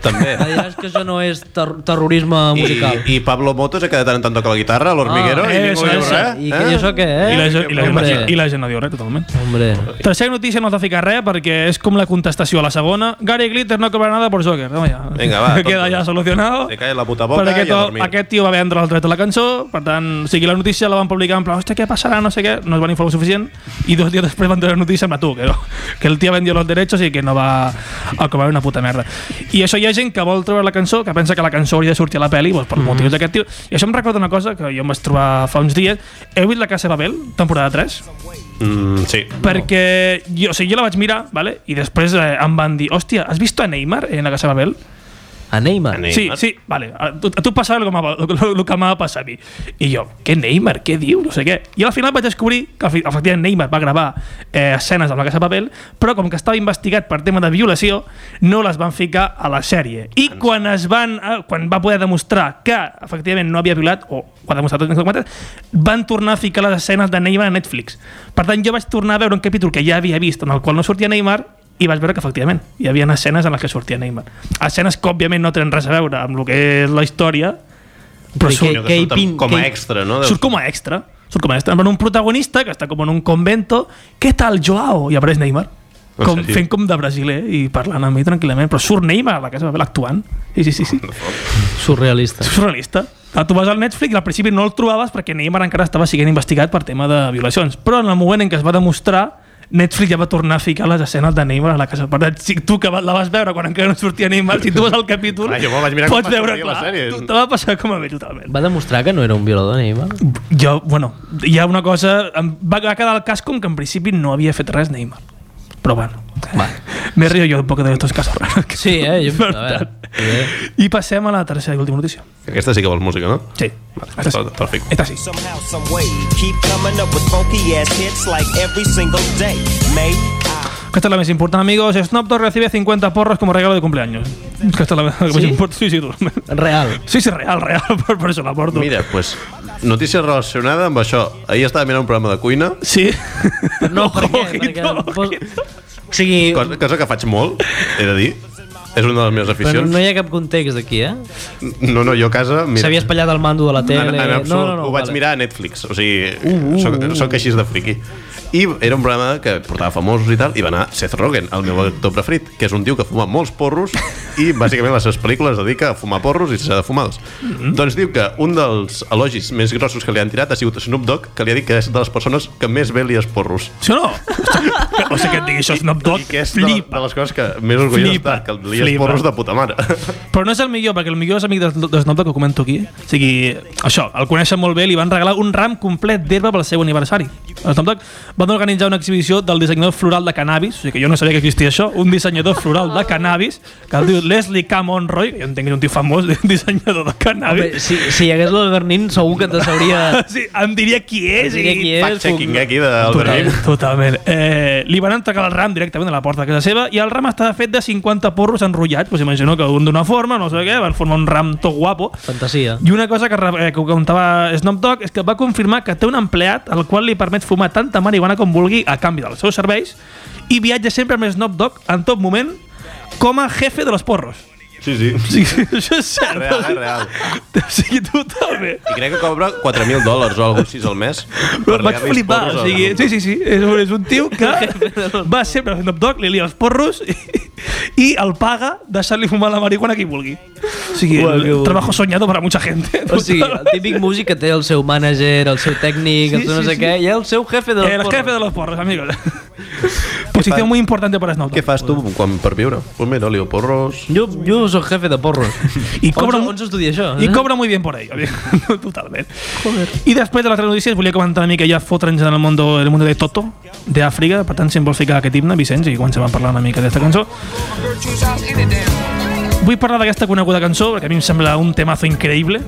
Speaker 2: També.
Speaker 3: Ja diràs que això no és ter terrorisme musical.
Speaker 2: I, I Pablo Motos ha quedat tant tant toca la guitarra, l'hormiguero,
Speaker 4: Ah,
Speaker 2: i ningú
Speaker 4: eso,
Speaker 2: diu
Speaker 4: eso.
Speaker 2: res.
Speaker 3: I que jo sóc què, eh?
Speaker 4: I la, gent- i, la,
Speaker 3: Hombre.
Speaker 4: gent- i la gent no diu res, totalment.
Speaker 3: Hombre.
Speaker 4: Tercera notícia no has de ficar res perquè és com la contestació a la segona. Gary Glitter no cobra nada per Joker. Toma ja.
Speaker 2: Vinga, va,
Speaker 4: <laughs> Queda
Speaker 2: tonto.
Speaker 4: ja solucionado.
Speaker 2: Te calles la puta boca
Speaker 4: Perquè
Speaker 2: i a
Speaker 4: to-
Speaker 2: dormir.
Speaker 4: Aquest tio va vendre els drets de la cançó, per tant, o sigui, la notícia la van publicar en plan, hòstia, què passarà, no sé què, no es van informar suficient, i dos dies després van treure la notícia amb tu, que, no, que el tio vendió els derechos i que no va a cobrar una puta merda. I això hi ha gent que vol treure la cançó, que pensa que la cançó hauria de sortir a la pel·li, doncs,
Speaker 2: Mhm.
Speaker 4: per motius d'aquest tio. I això em recorda una cosa que jo em vaig trobar fa uns dies. Heu vist La Casa de Babel, temporada 3?
Speaker 2: Mm, sí.
Speaker 4: Perquè jo, o sigui, jo la vaig mirar, vale? i després eh, em van dir, hòstia, has vist a Neymar en la Casa Babel?
Speaker 3: A Neymar.
Speaker 2: A Neymar.
Speaker 4: Sí, sí, vale. A tu, a tu et passava el que m'ha- el que- el que m'ha passat a mi. I jo, què Neymar? Què diu? No sé què. I al final vaig descobrir que al fi- efectivament Neymar va gravar eh, escenes amb la Casa de Papel, però com que estava investigat per tema de violació, no les van ficar a la sèrie. I quan es van, eh, quan va poder demostrar que efectivament no havia violat, o ho ha demostrat en comptes, van tornar a ficar les escenes de Neymar a Netflix. Per tant, jo vaig tornar a veure un capítol que ja havia vist en el qual no sortia Neymar i vaig veure que efectivament hi havia escenes en les que sortia Neymar escenes que òbviament no tenen res a veure amb el que és la història però
Speaker 3: Sí,
Speaker 4: surt,
Speaker 2: Allò que
Speaker 3: Que hi
Speaker 2: surt amb-
Speaker 3: pin-
Speaker 2: com
Speaker 3: que
Speaker 2: a
Speaker 3: hi-
Speaker 2: extra, no?
Speaker 4: surt com a extra surt com a extra, amb un protagonista que està com en un convento què tal Joao? i apareix Neymar
Speaker 2: En
Speaker 4: com,
Speaker 2: sèrio?
Speaker 4: fent com de brasiler i parlant amb mi tranquil·lament però surt Neymar a la casa de Babel actuant sí, sí, sí, sí.
Speaker 3: Surrealista.
Speaker 4: surrealista Ah, tu vas al Netflix i al principi no el trobaves perquè Neymar encara estava sent investigat per tema de violacions però en el moment en què es va demostrar Netflix ja va tornar a ficar les escenes de Neymar a la casa. Per tant, si tu que va- la vas veure quan encara no sortia Neymar, si tu vas al capítol,
Speaker 2: Clar, jo me vaig mirar com
Speaker 4: pots
Speaker 2: va
Speaker 4: veure,
Speaker 2: sortir la
Speaker 4: clar,
Speaker 2: sèrie.
Speaker 4: tu- te va passar com a mi totalment.
Speaker 3: Va demostrar que no era un violador Neymar.
Speaker 4: Jo, bueno, hi ha una cosa... Em va, va quedar el cas com que en principi no havia fet res Neymar. Però bueno, <laughs> me río yo un poco de estos casos raros.
Speaker 3: Sí, eh? Jo,
Speaker 4: Per
Speaker 3: a veure,
Speaker 4: tant.
Speaker 3: eh?
Speaker 4: I passem a la tercera i última notícia.
Speaker 2: Aquesta sí que vols música, no?
Speaker 4: Sí,
Speaker 2: Vale,
Speaker 4: esta sí.
Speaker 2: per- perfecte.
Speaker 4: Esta sí.
Speaker 9: Somehow, some way, keep coming up with funky ass hits like every single day. May I
Speaker 4: Esta es la más importante, amigos. Snoop Dogg recibe 50 porros como regalo de cumpleaños. Esta es la más
Speaker 3: ¿Sí?
Speaker 4: importante. Sí, sí, totalment.
Speaker 3: Real.
Speaker 2: <laughs>
Speaker 4: Sí, sí, real, real, <laughs> por, por eso la porto.
Speaker 2: Mira, pues, notícia relacionada amb això. Ahir estava mirant un programa de cuina,
Speaker 4: Sí. <laughs>
Speaker 3: No, per què?
Speaker 4: Ojito,
Speaker 3: Perquè em pos-
Speaker 4: ojito.
Speaker 3: O sigui,
Speaker 2: cosa, cosa que faig molt, he de dir. És una de les meves
Speaker 3: però
Speaker 2: aficions.
Speaker 3: no hi ha cap context aquí, eh?
Speaker 2: No, no, jo a casa... Mira,
Speaker 3: S'havia espallat el mando de la tele...
Speaker 2: En, en absolut,
Speaker 3: no, no, no,
Speaker 2: ho vaig
Speaker 3: vale.
Speaker 2: mirar a Netflix, o sigui, uh, uh, soc, soc així de friqui. I era un programa que portava famosos i tal, i va anar Seth Rogen, el meu actor preferit, que és un tio que fuma molts porros i bàsicament les seves pel·lícules es dedica a fumar porros i s'ha de fumar-los. Doncs diu que un dels elogis més grossos que li han tirat ha sigut Snoop Dogg, que li ha dit que és de les persones que més bé li és porros.
Speaker 4: Sí o no? <laughs> O sigui que et digui això Snoop
Speaker 2: I
Speaker 4: Dogg,
Speaker 2: que és de,
Speaker 4: flipa.
Speaker 2: de les coses que més orgullós
Speaker 4: Flipa.
Speaker 2: està, que li és
Speaker 4: Flipa.
Speaker 2: porros de puta mare.
Speaker 4: Però no és el millor, perquè el millor és amic de, de Snoop Dogg, que ho comento aquí. O sigui, això, el coneixen molt bé, li van regalar un ram complet d'herba pel seu aniversari. El Snoop Dogg van organitzar una exhibició del dissenyador floral de cannabis, o sigui que jo no sabia que existia això, un dissenyador floral de cannabis, que el diu Leslie K. Monroy, que jo entenc que és un tio famós, <laughs> un dissenyador de
Speaker 3: Home,
Speaker 4: cannabis.
Speaker 3: si, si hi hagués l'Albert Nin, segur que te sabria...
Speaker 4: sí, em diria qui és
Speaker 3: diria
Speaker 4: i
Speaker 3: qui és,
Speaker 2: Fact-checking
Speaker 3: com-
Speaker 2: aquí d'Albert
Speaker 4: Totalment,
Speaker 2: Nin.
Speaker 4: totalment. Eh, li van entregar el ram directament a la porta de casa seva i el ram estava fet de 50 porros enrotllats, pues imagino que un d'una forma, no sé què, van formar un ram tot guapo.
Speaker 3: Fantasia.
Speaker 4: I una cosa que, re- eh, que ho comentava Snoop Dogg és que va confirmar que té un empleat al qual li permet fumar tanta marihuana com vulgui a canvi dels seus serveis i viatja sempre amb Snoop Dogg en tot moment com a jefe de los porros.
Speaker 2: Sí, sí.
Speaker 4: O sigui, això és cert.
Speaker 2: Real, eh? real.
Speaker 4: <laughs> O sigui, totalment.
Speaker 2: I crec que cobra 4.000 dòlars o alguna cosa així al mes. per
Speaker 4: Però vaig
Speaker 2: liar-li els
Speaker 4: flipar,
Speaker 2: porros
Speaker 4: o
Speaker 2: a-
Speaker 4: sigui, sí, sí, sí, és un, és un
Speaker 3: <laughs>
Speaker 4: tio que va sempre fent dog, li lia els porros i, i el paga deixant-li fumar la marihuana a qui vulgui. O sigui,
Speaker 3: Uau, que
Speaker 4: el
Speaker 3: bo.
Speaker 4: trabajo soñado para mucha gente.
Speaker 3: O sigui,
Speaker 4: <laughs>
Speaker 3: el típic músic que té el seu mànager, el seu tècnic, el
Speaker 4: Sí,
Speaker 3: seu no
Speaker 4: sí,
Speaker 3: sé
Speaker 4: sí.
Speaker 3: què, i el seu jefe de...
Speaker 4: El Eh, jefe de los porros, amigos. Posición
Speaker 2: fa-
Speaker 4: muy importante para Snoop
Speaker 2: Què
Speaker 4: Dogg.
Speaker 2: fas tu quan per viure? Pues mira, lio porros...
Speaker 3: Jo, jo soc jefe de porros.
Speaker 4: <laughs> I
Speaker 3: On,
Speaker 4: cobra,
Speaker 3: on s'estudia això?
Speaker 4: I cobra muy bien <laughs> por ello, amigo. totalment. Joder. I després de les tres notícies volia comentar una mica ja fotre'ns en el món el mundo de Toto, de Àfrica, per tant si em vols ficar aquest himne, Vicenç, i comencem a parlar una mica d'esta cançó. Vull parlar d'aquesta coneguda cançó, perquè a mi em sembla un temazo increïble.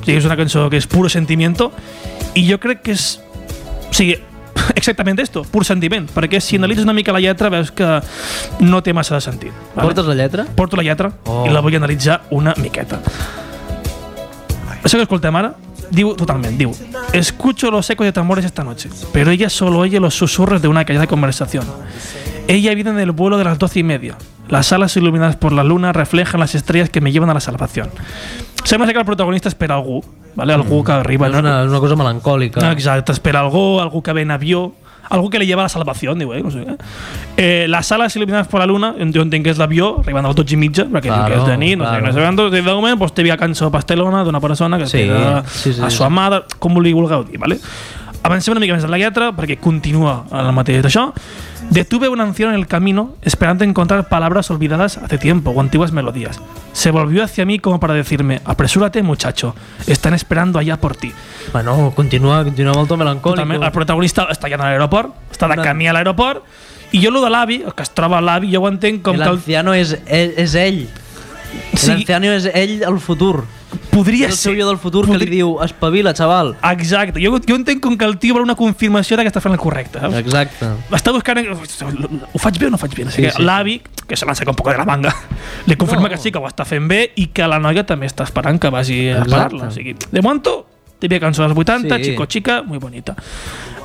Speaker 4: O sigui, és una cançó que és puro sentimiento, i jo crec que és... O sigui, <laughs> exactament esto, pur sentiment, perquè si analitzes una mica la lletra veus que no té massa de sentit. vale?
Speaker 3: Eh? Portes la lletra?
Speaker 4: porto la lletra
Speaker 3: Oh.
Speaker 4: oh. i la vull analitzar una miqueta. Això que escoltem ara, diu totalment, diu Escucho los ecos de tambores esta noche, pero ella solo oye los susurros de una callada conversación. Ella viene en el vuelo de las doce y media. Las alas iluminadas por la luna reflejan las estrellas que me llevan a la salvación. Sembla ser que el protagonista espera algú, ¿vale? algú que arriba.
Speaker 3: És
Speaker 4: Mm. no?
Speaker 3: una, és una cosa melancòlica.
Speaker 4: Ah, Exacte, espera algú, algú que ve en avió, algú que li lleva la salvació, diu, eh? No sé, eh? eh les sales il·luminades per la lluna, jo entenc que és l'avió, arribant a les 12 i mitja, perquè claro,
Speaker 3: Claro,
Speaker 4: que és de nit, no sé,
Speaker 3: claro.
Speaker 4: no sé quantos, i de moment pues, té via cançó pastelona d'una persona que
Speaker 3: Sí,
Speaker 4: sí, té
Speaker 3: sí,
Speaker 4: sí,
Speaker 3: sí,
Speaker 4: sí, a
Speaker 3: sí.
Speaker 4: su amada, com li vulgueu dir, ¿vale? Avancem una mica més en la lletra perquè continua el mateix d'això. Detuve un anciano en el camino esperando encontrar palabras olvidadas hace tiempo o antiguas melodías. Se volvió hacia mí como para decirme, apresúrate muchacho, están esperando allá por ti.
Speaker 3: Bueno, continua, continua amb el to
Speaker 4: Totalment, el
Speaker 3: melancòlic.
Speaker 4: protagonista està allà a l'aeroport, està de
Speaker 3: Una-
Speaker 4: camí a l'aeroport, i jo lo de l'avi, el que es troba a l'avi, jo ho entenc com que el,
Speaker 3: L'anciano és, és, és ell. Sí. L'Anceano és ell el futur.
Speaker 4: Podria
Speaker 3: El seu
Speaker 4: ser...
Speaker 3: jo del futur que li
Speaker 4: Podri-
Speaker 3: diu espavila, xaval.
Speaker 4: Exacte, jo, jo entenc com que el tio vol una confirmació de que està fent el correcte. Saps?
Speaker 3: Exacte.
Speaker 4: Està buscant... Ho faig bé o no faig bé? Així
Speaker 3: Sí,
Speaker 4: que
Speaker 3: sí.
Speaker 4: L'avi, que se l'ha sacat un poc de la manga, <laughs> li confirma no. que sí, que ho està fent bé i que la noia també està esperant que vagi a
Speaker 3: Exacte.
Speaker 4: parar-la. O sigui, de momento, típica cançó dels 80,
Speaker 3: Sí.
Speaker 4: sí. chico chica, muy bonita.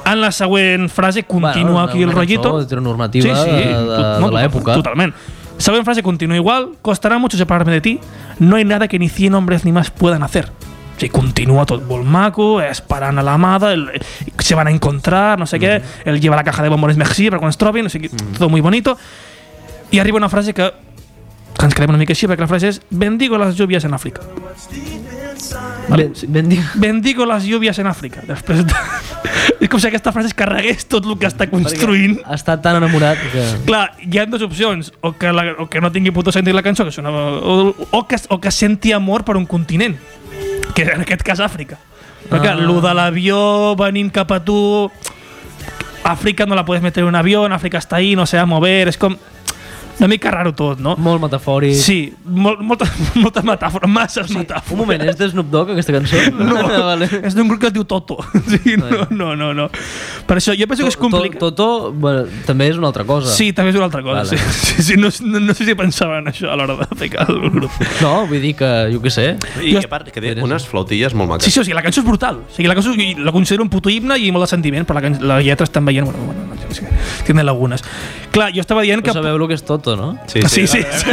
Speaker 4: En la següent frase continua
Speaker 3: Bueno,
Speaker 4: bueno, aquí el
Speaker 3: una
Speaker 4: rotllito.
Speaker 3: cançó heteronormativa de- de-
Speaker 4: tot-
Speaker 3: de l'època.
Speaker 4: Totalment. Següent frase continua igual. Costará mucho separarme de ti. No hay nada que ni 100 hombres ni más puedan hacer. Sí, continua tot molt maco, es paran a l'amada, el- se van a encontrar, no sé què,
Speaker 3: Mm.
Speaker 4: él lleva la caja de bombones Merci per quan es trobin, o sigui, todo muy bonito. I arriba una frase que, que ens quedem una mica així, perquè la frase és «Bendigo las lluvias en Àfrica».
Speaker 3: Ben, ben dic...
Speaker 4: Bendigo las lluvias en Àfrica. Després de... <laughs> és com si aquesta frase es carregués tot el que està construint.
Speaker 3: <laughs> Està tan enamorat que...
Speaker 4: Clar, hi ha dues opcions. O que, la, o que no tingui puto sentit la cançó, que sona, o, o, que, o que senti amor per un continent, que en aquest cas Àfrica. Però clar,
Speaker 3: Ah.
Speaker 4: lo de l'avió venint cap a tu... Àfrica no la puedes meter en un avió, en Àfrica està ahí, no se va a mover, és com... Una mica raro tot, no?
Speaker 3: Molt metafòric.
Speaker 4: Sí, mol, <laughs> molta, molta metàfora, masses sí, metàfores.
Speaker 3: Un moment, és de Snoop Dogg
Speaker 4: <laughs>
Speaker 3: aquesta cançó? <laughs> No, vale.
Speaker 4: És d'un grup que es diu Toto. <laughs> Sí, no, no, no, no. Per això jo penso que és complicat.
Speaker 3: To- Toto bueno, també és una altra cosa.
Speaker 4: Sí, també és una altra cosa.
Speaker 3: Vale.
Speaker 4: Sí, sí, sí, no, no, no sé si pensaven això a l'hora de ficar el grup.
Speaker 3: No, vull dir que, jo què sé.
Speaker 2: I a part, que té unes flautilles molt maques.
Speaker 4: Sí, sí, o sigui, la cançó és brutal. O sigui, la cançó jo la considero un puto himne i molt de sentiment, però la, can- la lletra estan veient... Bueno, bueno, no, sé, sí, tiene lagunes. Clar, jo estava dient
Speaker 3: No
Speaker 4: que... Ah,
Speaker 3: sabeu el que és Toto, no?
Speaker 2: sí,
Speaker 4: Sí, sí, sí.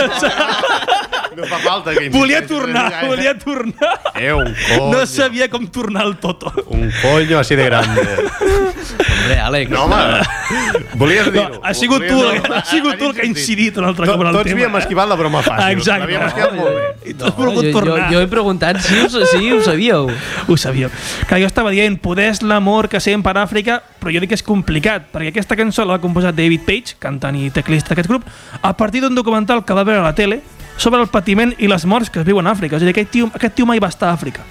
Speaker 10: No fa falta que
Speaker 4: <laughs> volia
Speaker 10: insisteixis
Speaker 4: tornar,
Speaker 10: gaire.
Speaker 4: volia tornar.
Speaker 2: Eh, un coño.
Speaker 4: No sabia com tornar al Toto.
Speaker 2: Un coño así de grande.
Speaker 3: Hombre, Àlex.
Speaker 10: No, home, volies
Speaker 4: No,
Speaker 10: dir-ho.
Speaker 4: ha sigut tu, el, ha sigut tu el que ha incidit un altre cop
Speaker 10: Tot,
Speaker 4: en el
Speaker 10: tots
Speaker 4: tema. eh?
Speaker 10: havíem esquivat la broma fàcil.
Speaker 4: Exacte.
Speaker 10: L'havíem esquivat
Speaker 2: <laughs>
Speaker 10: molt bé.
Speaker 4: I tu has volgut
Speaker 3: jo, jo,
Speaker 4: tornar.
Speaker 3: jo he preguntat si ho, si ho sabíeu.
Speaker 4: Ho sabíeu. Clar, jo estava dient, poder és l'amor que sent per Àfrica, però jo dic que és complicat, perquè aquesta cançó la va composar David Page, cantant i teclista d'aquest grup, a partir d'un documental que va veure a la tele sobre el patiment i les morts que es viuen a Àfrica. És a dir, aquest tio, aquest tio mai va estar a Àfrica.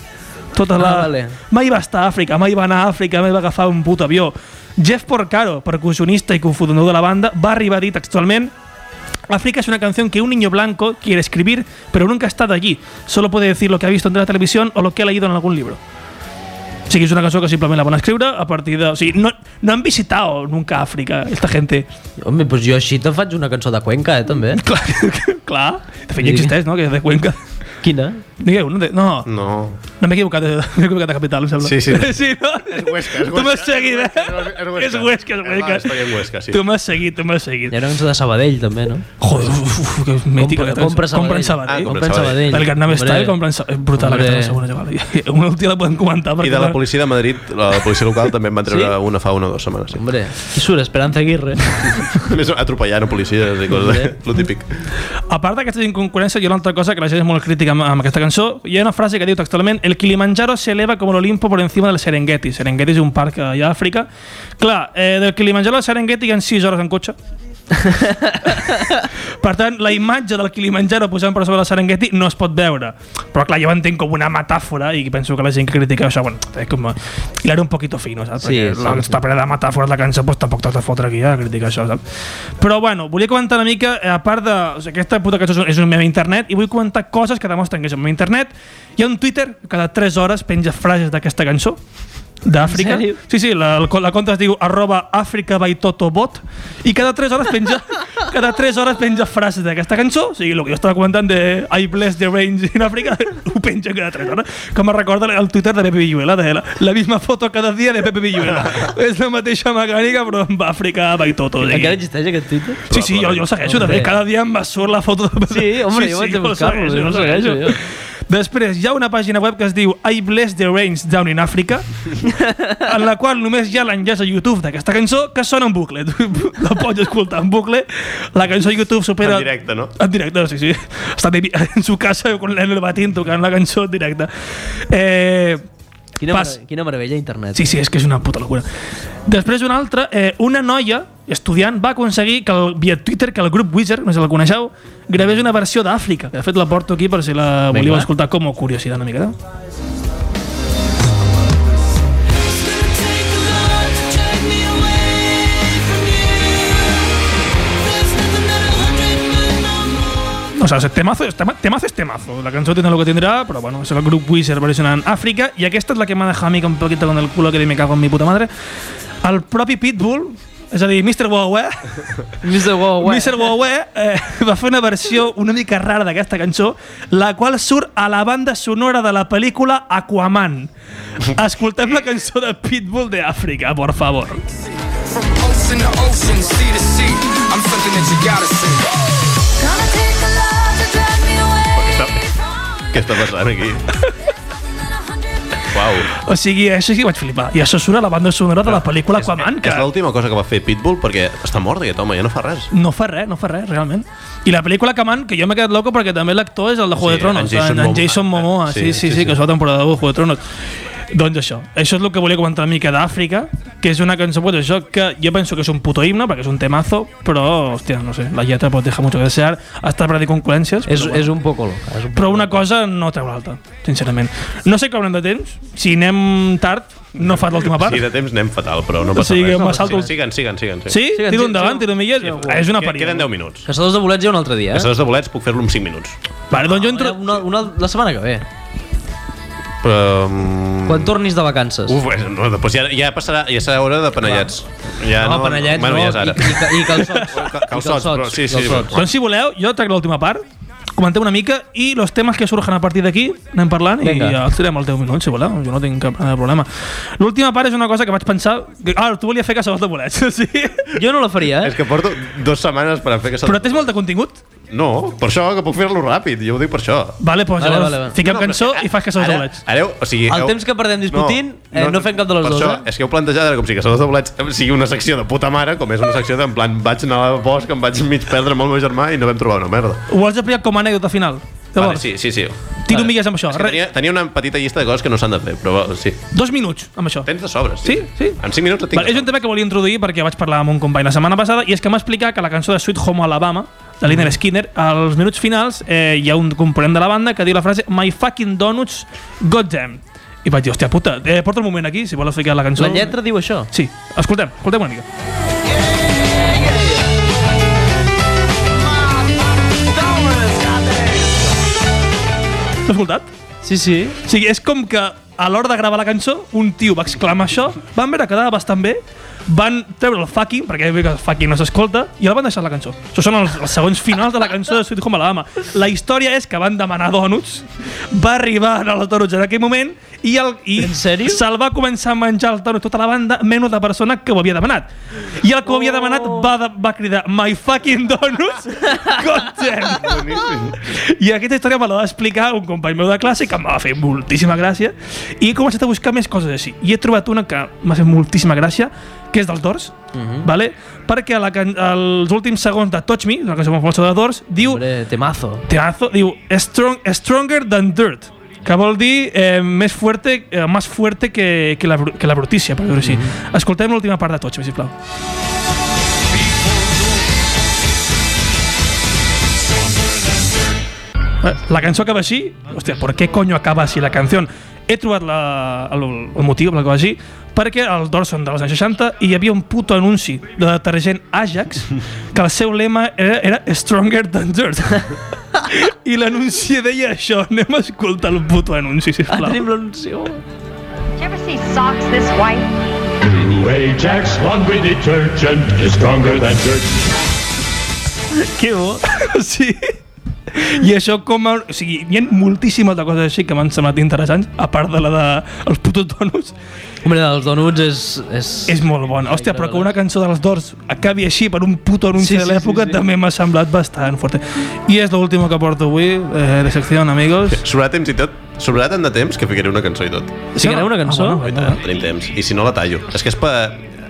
Speaker 4: Tota la...
Speaker 3: Ah, vale.
Speaker 4: Mai va estar a Àfrica, mai va anar a Àfrica, mai va agafar un puto avió. Jeff Porcaro, percussionista i confonador de la banda, va arribar a dir textualment África es una canción que un niño blanco quiere escribir, pero nunca ha estado allí. Solo puede decir lo que ha visto en la televisión o lo que ha leído en algún libro. Sí que es una canción que simplemente la van a escribir a partir de... O sigui, no, no han visitado nunca África, esta gente. <laughs>
Speaker 3: Home, doncs jo així te faig una cançó de Cuenca, eh, també.
Speaker 4: Clar, clar. De fet, ja
Speaker 3: Sí.
Speaker 4: existeix, no? Que és de Cuenca.
Speaker 3: Quina?
Speaker 4: Digueu, no, de, no,
Speaker 2: No.
Speaker 4: no m'he equivocat, de- m'he equivocat de capital, em sembla.
Speaker 2: Mm. Sí, sí.
Speaker 4: <laughs> sí no?
Speaker 10: És Huesca, és
Speaker 4: Tu m'has
Speaker 10: Huesca.
Speaker 4: seguit, eh?
Speaker 10: És Huesca,
Speaker 4: És Huesca, és
Speaker 2: És la
Speaker 4: Huesca.
Speaker 2: història en Huesca, sí.
Speaker 4: Tu m'has seguit, tu m'has seguit.
Speaker 3: Hi ha una cançó de Sabadell, també, no?
Speaker 4: Joder, uf, uf, que mítica. aquesta cançó.
Speaker 3: compra Sabadell.
Speaker 4: Compra en Sabadell.
Speaker 2: Ah, compra
Speaker 3: Compra en Sabadell.
Speaker 4: El Gangnam
Speaker 3: Hombre.
Speaker 4: Style compra en Sabadell. És brutal
Speaker 3: Hombre.
Speaker 4: aquesta cançó. Bueno, ja val. <laughs> Una última la podem comentar.
Speaker 2: I
Speaker 4: perquè
Speaker 2: de la
Speaker 4: no-
Speaker 2: policia de Madrid, la policia local també en van treure sí? una fa una o dues setmanes. Sí.
Speaker 3: Hombre, qui surt? Esperanza Aguirre.
Speaker 2: Més atropellant a policies i coses, eh?
Speaker 3: Bé.
Speaker 2: lo típic.
Speaker 4: A part d'aquesta inconcurrència, hi ha una altra cosa que la gent és molt crítica amb, amb aquesta cançó. Hi ha una frase que diu textualment «El Kilimanjaro se eleva com l'Olimpo por encima del Serengeti». Serengeti és un parc eh, allà a Àfrica. Clar, eh, del Kilimanjaro al Serengeti hi ha 6 hores en cotxe. per tant, la imatge del Kilimanjaro posant per sobre del Serengeti no es pot veure. Però clar, jo ho entenc com una metàfora i penso que la gent que critica això, bueno, és com... Hilar un poquito fino, saps?
Speaker 3: Sí,
Speaker 4: Perquè
Speaker 3: sí,
Speaker 4: la-
Speaker 3: sí.
Speaker 4: està plena de metàfores la cançó, doncs tampoc t'has de fotre aquí eh, a criticar això, saps? Però bueno, volia comentar una mica, eh, a part de... O sigui, aquesta puta cançó és un- és un meme a internet i vull comentar coses que demostren que és un meme a internet. Hi ha un Twitter que cada 3 hores penja frases d'aquesta cançó d'Àfrica.
Speaker 3: En sèrio?
Speaker 4: Sí, sí, la, la, la conta es diu arroba Africa by Toto Bot i cada 3 hores penja, cada 3 hores penja frases d'aquesta cançó, o sigui, el que jo estava comentant de I bless the rains in Africa, <laughs> ho penja cada 3 hores, que me recorda el Twitter de Pepe Villuela, de la, la misma foto cada dia de Pepe Villuela. És la mateixa mecànica, però amb Àfrica by Toto. O sigui.
Speaker 3: Encara existeix aquest Twitter?
Speaker 4: Sí, sí, jo, jo el segueixo, també.
Speaker 3: Hombre.
Speaker 4: Cada dia em va surt la foto de...
Speaker 3: Sí, home, jo vaig a
Speaker 4: el
Speaker 3: buscar-lo,
Speaker 4: segueixo,
Speaker 3: jo el
Speaker 4: el segueixo.
Speaker 3: segueixo,
Speaker 4: Després, hi ha una pàgina web que es diu I Bless the Rains Down in
Speaker 3: <laughs>
Speaker 4: Africa, en la qual només hi ha l'enllaç a YouTube d'aquesta cançó, que sona en bucle. <laughs> Tu la pots escoltar en bucle. La cançó a YouTube supera...
Speaker 2: En directe, no?
Speaker 4: En directe, sí, sí. Està David <laughs> en su casa con el batín tocant la cançó en directe. Eh,
Speaker 3: Quina,
Speaker 4: Pas.
Speaker 3: mare- quina meravella internet.
Speaker 4: Sí, sí, és que és una puta locura. Després una altra, eh, una noia estudiant va aconseguir que el, via Twitter que el grup Wizard, no sé si el coneixeu, gravés una versió d'Àfrica. De fet, la porto aquí per si la volíeu
Speaker 3: Vinga.
Speaker 4: escoltar com a curiositat una mica. No? O sea, temazo és, tema, temazo és temazo. La cançó tindrà el que tindrà, però bueno, és el grup Wizard versionant Àfrica i aquesta és la que m'ha deixat a mi que un poquito con el culo que me cago en mi puta madre. El propi Pitbull, és a dir, Mr. Huawei,
Speaker 3: Mr. Huawei.
Speaker 4: Mr. Huawei eh, <laughs> va fer una versió una mica rara d'aquesta cançó, la qual surt a la banda sonora de la pel·lícula Aquaman. Escoltem la cançó de Pitbull d'Àfrica, por favor.
Speaker 6: From ocean to ocean, sea to sea, I'm something that you gotta see.
Speaker 2: Què està passant aquí? Uau.
Speaker 4: O sigui, això sí que vaig flipar. I això surt a la banda sonora de la pel·lícula Aquaman,
Speaker 2: És l'última cosa que va fer Pitbull perquè està mort aquest home, ja no fa res.
Speaker 4: No fa res, no fa res, realment. I la pel·lícula Kaman, que jo m'he quedat loco perquè també l'actor és el de Juego
Speaker 2: Sí,
Speaker 4: de Tronos,
Speaker 2: en Jason
Speaker 4: en, en
Speaker 2: Momoa.
Speaker 4: Jason Momoa, sí, sí, sí, sí, sí, que és la temporada de Juego de Tronos. Doncs això, això és el que volia comentar una mica d'Àfrica, que és una cançó, pues, això, que jo penso que és un puto himne, perquè és un temazo, però, hòstia, no sé, la lletra pot deixar mucho que desear, està per dir concurrències.
Speaker 3: És,
Speaker 4: però,
Speaker 3: és un poco loca. És un
Speaker 4: però una cosa no treu l'altra, sincerament. No sé com anem de temps, si anem tard, no fas l'última part.
Speaker 2: Sí, de temps anem fatal, però no
Speaker 4: O
Speaker 2: passa
Speaker 4: sigui,
Speaker 2: res.
Speaker 4: em salto-
Speaker 2: Siguen, siguen, siguen. siguen.
Speaker 4: Sí?
Speaker 3: Siguen,
Speaker 4: Tiro
Speaker 3: siguen,
Speaker 4: endavant,
Speaker 3: siguen.
Speaker 4: tiro milles.
Speaker 3: Siguen.
Speaker 4: És una
Speaker 2: Que-
Speaker 4: parella.
Speaker 2: Queden 10 minuts.
Speaker 3: Caçadors de bolets ja un altre dia, eh?
Speaker 2: Caçadors de bolets puc fer-lo en 5 minuts.
Speaker 4: Vale, doncs jo entro...
Speaker 3: Una, una, la setmana que ve,
Speaker 2: Mm. Però... mm,
Speaker 3: quan tornis de vacances.
Speaker 2: Uf, és- no, doncs ja, ja, passarà, ja serà hora de panellets. Ja,
Speaker 3: no, panellets,
Speaker 2: bueno,
Speaker 3: no,
Speaker 2: ja és ara.
Speaker 3: I, i, ca- i calçots.
Speaker 2: <laughs> Calçots, però sí, sí,
Speaker 3: calçots.
Speaker 4: Doncs si voleu, jo trec l'última part, comentem una mica i els temes que surgen a partir d'aquí anem parlant
Speaker 3: Vinga.
Speaker 4: i ja els tirem al 10 minuts, si voleu, jo no tinc cap mena de problema. L'última part és una cosa que vaig pensar... Que, ah, tu volia fer caçadors de bolets, <laughs> sí?
Speaker 3: Jo no la faria,
Speaker 2: És
Speaker 3: eh?
Speaker 2: que porto dues setmanes per a fer aquesta...
Speaker 4: Però tens molt de contingut?
Speaker 2: No, per això, que puc fer-lo ràpid, jo ho dic per això.
Speaker 4: Vale, doncs
Speaker 3: Vale,
Speaker 4: vale,
Speaker 3: vale, vale.
Speaker 4: fiquem
Speaker 2: No, però
Speaker 4: cançó
Speaker 2: és que
Speaker 4: i fas caçadors de
Speaker 2: Ara,
Speaker 4: bolets.
Speaker 2: ara, o sigui,
Speaker 3: El
Speaker 2: heu-
Speaker 3: temps que perdem discutint, eh, no fem cap de les
Speaker 2: per
Speaker 3: dues,
Speaker 2: Això,
Speaker 3: eh?
Speaker 2: És que heu plantejat ara com si Caçadors de Bolets eh, sigui una secció de puta mare, com és una secció d'en plan vaig anar al bosc, em vaig mig perdre amb el meu germà i no vam trobar una merda.
Speaker 4: Ho has aplicat com a anècdota final?
Speaker 2: Vale,
Speaker 4: Llavors,
Speaker 2: sí, sí, sí.
Speaker 4: tiro milles amb això.
Speaker 2: És que tenia, tenia una petita llista de coses que no s'han de fer, però va, sí.
Speaker 4: Re- Dos minuts amb això.
Speaker 2: Tens de sobres.
Speaker 4: Sí, sí.
Speaker 2: En 5 minuts et tinc.
Speaker 4: Vale, és un tema que volia introduir perquè vaig parlar amb un company la setmana passada i és que m'ha explicat que la cançó de Sweet Home Alabama
Speaker 3: Mm.
Speaker 4: de Liner Skinner, als minuts finals eh, hi ha un component de la banda que diu la frase My fucking donuts, goddamn i vaig dir, hòstia puta, eh, porta un moment aquí si vols ficar la cançó
Speaker 3: La lletra diu això.
Speaker 4: Sí, escoltem, escoltem una mica L'has escoltat?
Speaker 3: Sí, sí.
Speaker 4: O sigui, és com que a l'hora de gravar la cançó, un tio va exclamar això, van veure que quedava bastant bé, van treure el fucking, perquè bé que el fucking no s'escolta, i el van deixar la cançó. Això són els, els segons finals de la cançó de Sweet Home Alabama. La història és que van demanar donuts, va arribar en els donuts en aquell moment, i, el, i
Speaker 3: En sèrio?
Speaker 4: se'l va començar a menjar el donut tota la banda, menys la persona que ho havia demanat. I el que ho havia
Speaker 3: Oh.
Speaker 4: demanat va, de- va cridar My fucking
Speaker 3: <laughs>
Speaker 4: donuts, God damn. I aquesta història me la va explicar un company meu de classe que em va fer moltíssima gràcia i he començat a buscar més coses així. I he trobat una que m'ha fet moltíssima gràcia, que és dels Dors,
Speaker 3: Mhm.
Speaker 4: vale? perquè a la can- als últims segons de Touch Me, la cançó molt famosa de Dors, diu,
Speaker 3: Hombre, temazo.
Speaker 4: temazo, diu Strong, Stronger than Dirt, que vol dir eh, més fuerte, eh, més fuerte que, que, la, bru- que la brutícia, per dir-ho així. Escoltem l'última part de Touch Me, sisplau. Eh, La cançó acaba així. Hòstia, per què coño acaba així la canció? He trobat la, el, el motiu per la que va així perquè al Dorson dels anys 60 hi havia un puto anunci de detergent Ajax que el seu lema era, era Stronger than Dirt. I l'anunci deia això. Anem a escoltar el puto anunci,
Speaker 3: Ah,
Speaker 4: sisplau.
Speaker 3: tenim l'anunció.
Speaker 11: Did you ever see socks this white?
Speaker 12: Ajax laundry detergent is stronger than dirt.
Speaker 4: Que bo. <laughs> sí. I això com a... O sigui, hi ha moltíssimes de coses així que m'han semblat interessants, a part de la de els putos donuts,
Speaker 3: Hombre, els donuts és... És,
Speaker 4: És molt bona. Hòstia, però que una cançó dels Doors acabi així per un puto anunci
Speaker 3: Sí,
Speaker 4: de
Speaker 3: sí,
Speaker 4: l'època
Speaker 3: sí, sí.
Speaker 4: també m'ha semblat bastant forta. I és l'última que porto avui, eh, de secció, amigos.
Speaker 2: Sobrarà temps i tot. Sobrarà tant de temps que ficaré una cançó i tot.
Speaker 3: Ficareu una cançó?
Speaker 4: Ah, bueno,
Speaker 2: Ah, tenim temps. I si no, la tallo. És que és per...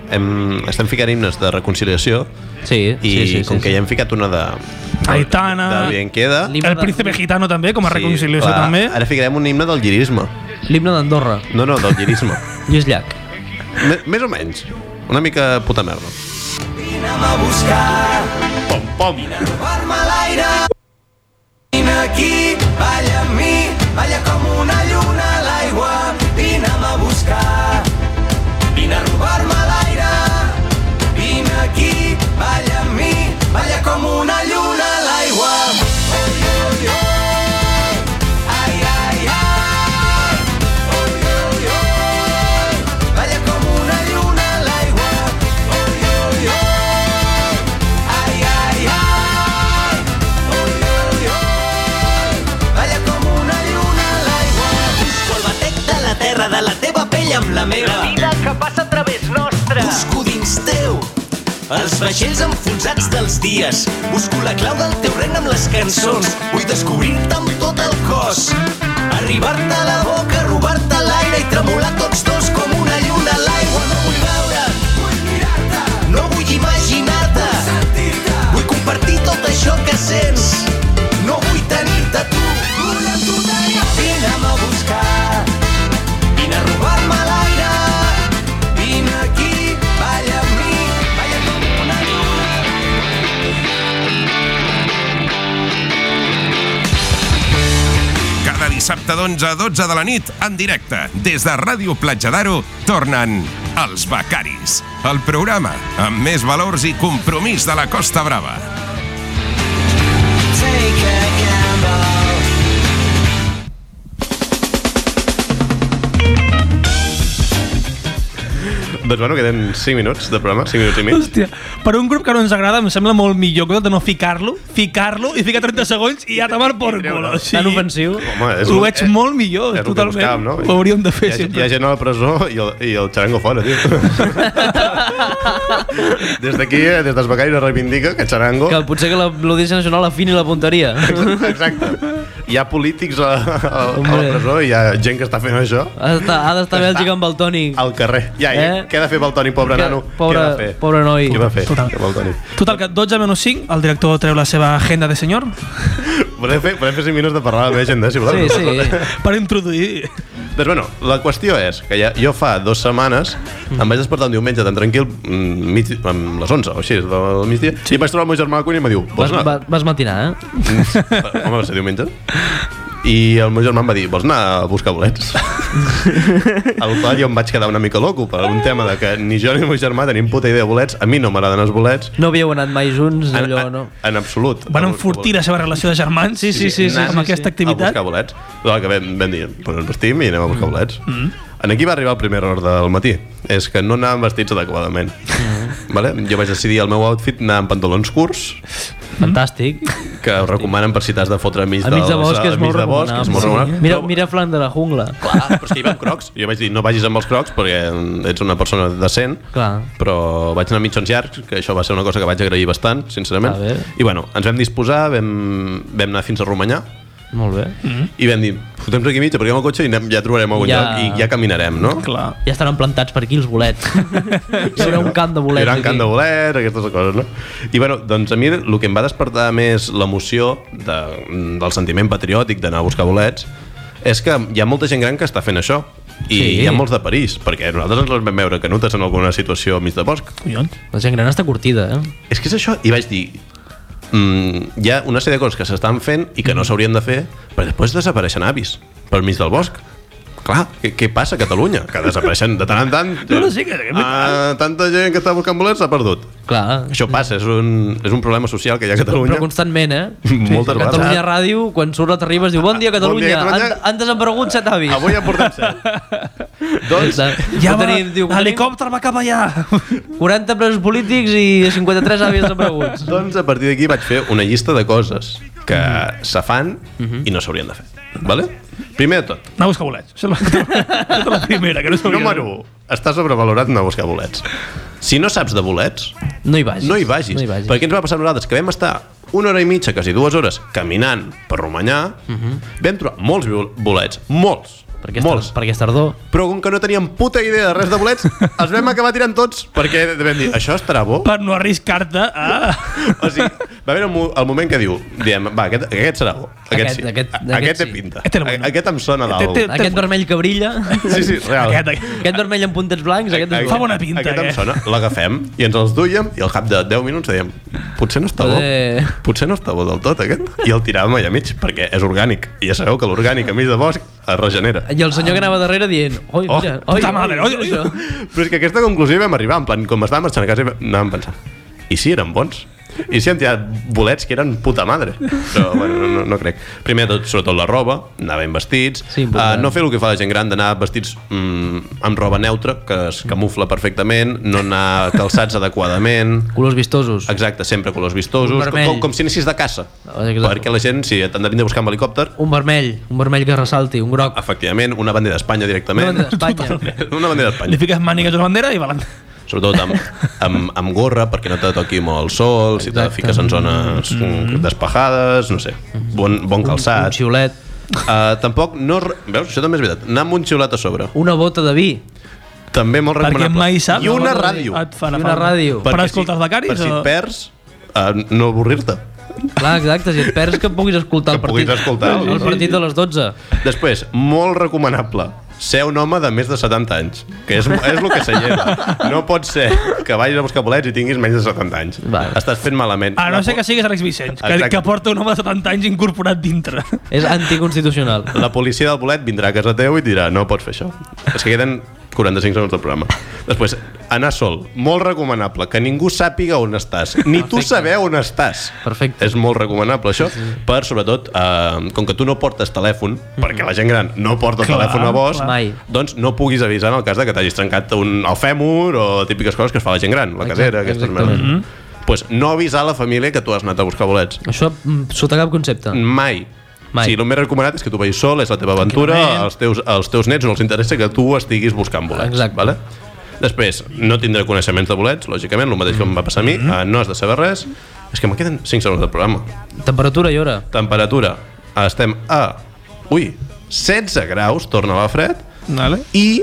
Speaker 2: Hem, estem ficant himnes de reconciliació i
Speaker 3: Sí, sí, sí.
Speaker 2: com
Speaker 3: sí,
Speaker 2: que ja hem ficat una de...
Speaker 4: Aitana.
Speaker 2: De Bien Queda.
Speaker 3: L'himne
Speaker 4: El
Speaker 3: de-
Speaker 4: príncipe gitano també, com a Ah, reconciliació
Speaker 2: clar,
Speaker 4: també.
Speaker 2: Ara ficarem un himne del girisme.
Speaker 3: L'himne d'Andorra.
Speaker 2: No, no, del
Speaker 4: <laughs>
Speaker 2: girisme.
Speaker 3: Lluís Llach.
Speaker 2: M- Més o menys. Una mica puta merda.
Speaker 6: Vine'm a buscar,
Speaker 2: Pom, pom.
Speaker 6: arma l'aire. Vine aquí, balla amb mi, balla com una lluna a l'aigua. Vine'm a buscar, vine a robar-me l'aire. Vine aquí, balla amb mi, balla com una lluna a l'aigua. Oh, yeah. Mostra de la teva pell amb la meva.
Speaker 13: La vida
Speaker 6: que passa a través nostra. Busco dins teu els vaixells enfonsats dels dies. Busco la clau del teu regne amb les cançons. Vull descobrir-te amb tot el cos. Arribar-te a la boca, robar-te l'aire i tremolar tots dos com una lluna a l'aigua. No vull veure, vull mirar-te, no vull imaginar-te, vull sentir-te, vull compartir tot això que sents. No vull tenir-te a tu, vull amb tu tenir. Vine'm a buscar, vine a robar-me l'aire, vine aquí, balla amb mi, balla com una lluna.
Speaker 1: Cada dissabte d'11 a 12 de la nit, en directe, des de Ràdio Platja d'Aro, tornen els Becaris, el programa amb més valors i compromís de la Costa Brava.
Speaker 6: Take a gamble.
Speaker 2: Doncs bueno, queden 5 minuts de programa, 5 minuts i mig.
Speaker 4: Hòstia, per un grup que no ens agrada em sembla molt millor que de no ficar-lo, ficar-lo i ficar 30 segons i ja tomar por culo. O sigui, Tan ofensiu.
Speaker 2: Home, és
Speaker 4: ho
Speaker 2: el-
Speaker 4: veig molt millor,
Speaker 2: és el que
Speaker 4: totalment.
Speaker 2: buscàvem, no?
Speaker 4: Ho hauríem de fer
Speaker 2: Hi ha,
Speaker 4: sempre.
Speaker 2: hi ha gent a la presó i el, i el xarango fora,
Speaker 4: <laughs>
Speaker 2: tio. des d'aquí, eh, des dels becaris es reivindica que xarango...
Speaker 3: Que potser que la- l'Audiència Nacional afini la
Speaker 2: <laughs>
Speaker 3: punteria.
Speaker 2: Exacte. Hi ha polítics a, a, a la presó i hi ha gent que està fent això.
Speaker 3: Ha d'estar- ha d'estar Bèlgica amb el Toni.
Speaker 2: Al carrer. Ja, eh?
Speaker 3: Eh?
Speaker 2: què ha de fer Baltoni, pobre
Speaker 3: Que-
Speaker 2: nano?
Speaker 3: pobre-
Speaker 2: què ha de fer?
Speaker 3: pobre noi.
Speaker 2: Què va fer?
Speaker 4: Total.
Speaker 2: Que Baltoni.
Speaker 4: Total, que 12 menys 5, el director treu la seva agenda de senyor.
Speaker 2: Podem fer, podem fer 5 minuts de parlar de la meva agenda, si voleu.
Speaker 4: per introduir...
Speaker 2: <laughs> Doncs bueno, la qüestió és que ja, jo fa dues setmanes
Speaker 3: Mm.
Speaker 2: em vaig despertar un diumenge tan tranquil mm, mig, amb les 11 o així, del migdia, sí. i vaig trobar el meu germà a la cuina i em va dir
Speaker 3: Vas,
Speaker 2: vols anar?
Speaker 3: va- vas matinar, eh?
Speaker 2: Home, va ser diumenge. I el meu germà em va dir vols anar a buscar
Speaker 3: <laughs>
Speaker 2: bolets? Al qual jo em vaig quedar una mica loco per un tema de que ni jo ni el meu germà tenim puta idea de bolets, a mi no m'agraden els bolets,
Speaker 3: No havíeu anat mai junts,
Speaker 2: En-
Speaker 3: allò, no?
Speaker 2: en absolut.
Speaker 4: Van enfortir la seva relació de germans sí, sí, sí, sí, amb
Speaker 2: anant
Speaker 4: aquesta
Speaker 2: A
Speaker 4: activitat.
Speaker 2: buscar bolets. Clar, que vam, vam dir, pues ens vestim i anem a buscar bolets.
Speaker 4: Mm.
Speaker 2: En aquí va arribar el primer error del matí. És que no anàvem vestits adequadament.
Speaker 3: Mm.
Speaker 2: Vale? Jo vaig decidir el meu outfit anar amb pantalons curts. Mm-hmm.
Speaker 3: Fantàstic.
Speaker 2: Que us recomanen per si t'has de fotre a mig,
Speaker 3: A mig de
Speaker 2: la
Speaker 3: bosc
Speaker 2: sala,
Speaker 3: és
Speaker 2: a mig
Speaker 3: molt
Speaker 2: de bosc,
Speaker 3: recomanable.
Speaker 2: és molt recomanable.
Speaker 3: Mira, mira Flan de la jungla.
Speaker 2: Clar, però és que hi vam crocs. Jo vaig dir, no vagis amb els crocs perquè ets una persona decent.
Speaker 3: Clar.
Speaker 2: però vaig anar a mitjons llargs, que això va ser una cosa que vaig agrair bastant, sincerament.
Speaker 3: A veure.
Speaker 2: I bueno, ens vam disposar, vam, vam anar fins a Romanyà,
Speaker 3: Molt bé.
Speaker 2: i vam dir, fotem aquí mitja, perquè amb el cotxe i anem, ja trobarem algun
Speaker 3: Ja.
Speaker 2: ja. lloc i ja caminarem, no?
Speaker 4: Clar.
Speaker 3: Ja estaran plantats per aquí els
Speaker 2: <laughs>
Speaker 3: bolets. Hi haurà un camp de
Speaker 2: Hi
Speaker 3: bolets.
Speaker 2: haurà un
Speaker 3: aquí.
Speaker 2: cant de bolets, aquestes coses, no? I bueno, doncs a mi el que em va despertar més l'emoció de, del sentiment patriòtic d'anar a buscar bolets és que hi ha molta gent gran que està fent això. I sí.
Speaker 3: Sí.
Speaker 2: hi ha molts de París, perquè nosaltres ens les vam veure canutes en alguna situació al mig de bosc.
Speaker 4: Collons.
Speaker 3: La gent gran està curtida, eh?
Speaker 2: És que és això, i vaig dir mm, hi ha una sèrie de coses que s'estan fent i que
Speaker 4: Mm.
Speaker 2: no s'haurien de fer, però després desapareixen avis pel mig del bosc. Clar, què, què passa a Catalunya? Que desapareixen de tant en tant.
Speaker 4: <laughs> No, no, sí, que- que-
Speaker 2: Ah, tanta gent que està buscant bolets s'ha perdut.
Speaker 3: Clar.
Speaker 4: Mm.
Speaker 2: Això passa, és un, és un problema social que hi ha a Catalunya.
Speaker 3: Però constantment, eh?
Speaker 2: <laughs> Moltes vegades.
Speaker 3: Catalunya Ràdio, quan surt la t'arribes, diu Bon dia, Catalunya,
Speaker 2: dia, Catalunya."
Speaker 3: Han, han desaparegut set avis. Avui <laughs>
Speaker 2: ja portem
Speaker 4: <laughs>
Speaker 3: set.
Speaker 2: doncs...
Speaker 4: Ja
Speaker 3: Ja
Speaker 4: va,
Speaker 3: tenim, diu,
Speaker 4: l'helicòpter va cap allà.
Speaker 3: 40 presos polítics i 53 avis desapareguts.
Speaker 2: Doncs a partir d'aquí vaig fer una llista de coses que
Speaker 4: Mm-hmm.
Speaker 2: se fan i no s'haurien de fer. Vale? Primer de tot,
Speaker 4: Anar a buscar bolets. Això és la, <laughs> tota la primera, que no sabia.
Speaker 2: Número 1. Està sobrevalorat anar a buscar bolets. Si no saps de bolets...
Speaker 3: No hi vagis.
Speaker 2: No hi vagis.
Speaker 3: No hi vagis.
Speaker 2: Perquè ens va passar a nosaltres? Que vam estar una hora i mitja, quasi dues hores, caminant per Romanyà, uh -huh. vam trobar molts bol- bolets. Molts. Perquè molts.
Speaker 3: Mhm. Perquè és tardor.
Speaker 2: Però com que no teníem puta idea de res de
Speaker 3: <laughs>
Speaker 2: bolets, els vam acabar tirant tots perquè vam dir, això estarà bo?
Speaker 4: Per no arriscar-te a...
Speaker 2: O sigui, va haver un mo- el moment que diu, diem, va, aquest, aquest serà bo. Aquest,
Speaker 3: Aquest-
Speaker 2: sí.
Speaker 3: aquest-
Speaker 2: A- aquest,
Speaker 3: aquest
Speaker 2: té
Speaker 3: sí.
Speaker 2: pinta. Aquest, aquest em sona d'algú.
Speaker 3: Aquest vermell que brilla.
Speaker 2: Sí, sí, real.
Speaker 3: Aquest, aquest. aquest vermell amb puntets blancs. Doncs Aquest, és
Speaker 2: Aquest
Speaker 3: eh?
Speaker 2: em sona. L'agafem i ens els duiem i al cap de 10 minuts dèiem potser no està bo,
Speaker 3: Poder-
Speaker 2: potser no està bo del tot aquest. I el tiràvem allà mig perquè és orgànic. I ja sabeu que l'orgànic a mig de bosc es regenera.
Speaker 3: I el senyor que anava darrere dient Oi,
Speaker 2: Oh,
Speaker 3: mira, oi,
Speaker 2: puta madre, oi, oi. Però és que a aquesta conclusió hi vam arribar, en plan, com estàvem marxant a casa, hi vam- anàvem pensant, i si eren bons? I sí, hem tirat bolets que eren puta madre. Però, bueno, no, no crec. Primer de tot, sobretot la roba, anar ben vestits. Sí, uh, no fer el que fa la gent gran, d'anar vestits mm, amb roba neutra, que es camufla perfectament, no anar calçats adequadament.
Speaker 3: Colors vistosos.
Speaker 2: Exacte, sempre colors vistosos.
Speaker 3: Un vermell.
Speaker 2: Com, com si anessis de caça.
Speaker 3: Exacte.
Speaker 2: Perquè la gent, si t'han de buscar amb helicòpter,
Speaker 3: Un vermell, un vermell que ressalti, un groc.
Speaker 2: efectivament, una bandera d'Espanya directament.
Speaker 3: Una bandera
Speaker 2: d'Espanya. una bandera d'Espanya.
Speaker 4: Li fiques mànigues a la bandera i balant.
Speaker 2: sobretot amb, amb, amb gorra perquè no te toqui molt el sol, si te fiques en zones
Speaker 4: Mm-hmm.
Speaker 2: mm. despejades, no sé, bon, bon calçat. Un, un
Speaker 3: xiulet.
Speaker 2: Uh, tampoc no... re- Veus, això també és veritat. Anar amb un xiulet a sobre.
Speaker 3: Una bota de vi.
Speaker 2: També molt
Speaker 4: Perquè
Speaker 2: recomanable.
Speaker 4: mai saps.
Speaker 2: I una
Speaker 4: Una bota de vi.
Speaker 2: ràdio.
Speaker 4: Et farà I una falta. ràdio. Per escoltar els becaris
Speaker 2: Per si
Speaker 4: o-
Speaker 2: et perds, uh, no avorrir-te.
Speaker 3: Clar, exacte, si et perds que puguis escoltar el partit.
Speaker 2: Puguis escoltar.
Speaker 3: El, partit de les 12.
Speaker 2: Després, molt recomanable ser un home de més de 70 anys, que és, és el que se
Speaker 4: <laughs>
Speaker 2: lleva. No pot ser que vagis a buscar bolets i tinguis menys de 70 anys. Vale. Estàs fent malament.
Speaker 4: A no ser que siguis Alex Vicenç, que,
Speaker 2: Exacte.
Speaker 4: que porta un home de 70 anys incorporat dintre.
Speaker 3: És anticonstitucional.
Speaker 2: <laughs> La policia del bolet vindrà a casa teu i et dirà no pots fer això. És que queden 45 segons del programa. Després, anar sol. Molt recomanable. Que ningú sàpiga on estàs. Ni tu saber on estàs.
Speaker 3: Perfecte.
Speaker 2: És molt recomanable això. Per, sobretot, eh, com que tu no portes telèfon, perquè la gent gran no porta
Speaker 3: Clar,
Speaker 2: telèfon a vos,
Speaker 3: clar. Mai.
Speaker 2: doncs no puguis avisar en el cas de que t'hagis trencat un, el fèmur o típiques coses que es fa la gent gran, la cadera, aquestes merdes.
Speaker 3: exactament.
Speaker 2: Pues no avisar la família que tu has anat a buscar bolets.
Speaker 3: Això mm, sota cap concepte.
Speaker 2: Mai. Mai. Sí, el més recomanat és que tu vagis sol, és la teva aventura, els teus, els teus nets no els interessa que tu estiguis buscant bolets. Exacte. Vale? Després, no tindré coneixements de bolets, lògicament, el mateix que em va passar a mi, mm
Speaker 3: Mm-hmm.
Speaker 2: -hmm. no has de saber res. És que me queden 5 segons del programa.
Speaker 3: Temperatura i hora.
Speaker 2: Temperatura, estem a... Ui, 16 graus, torna la fred,
Speaker 4: Vale.
Speaker 2: i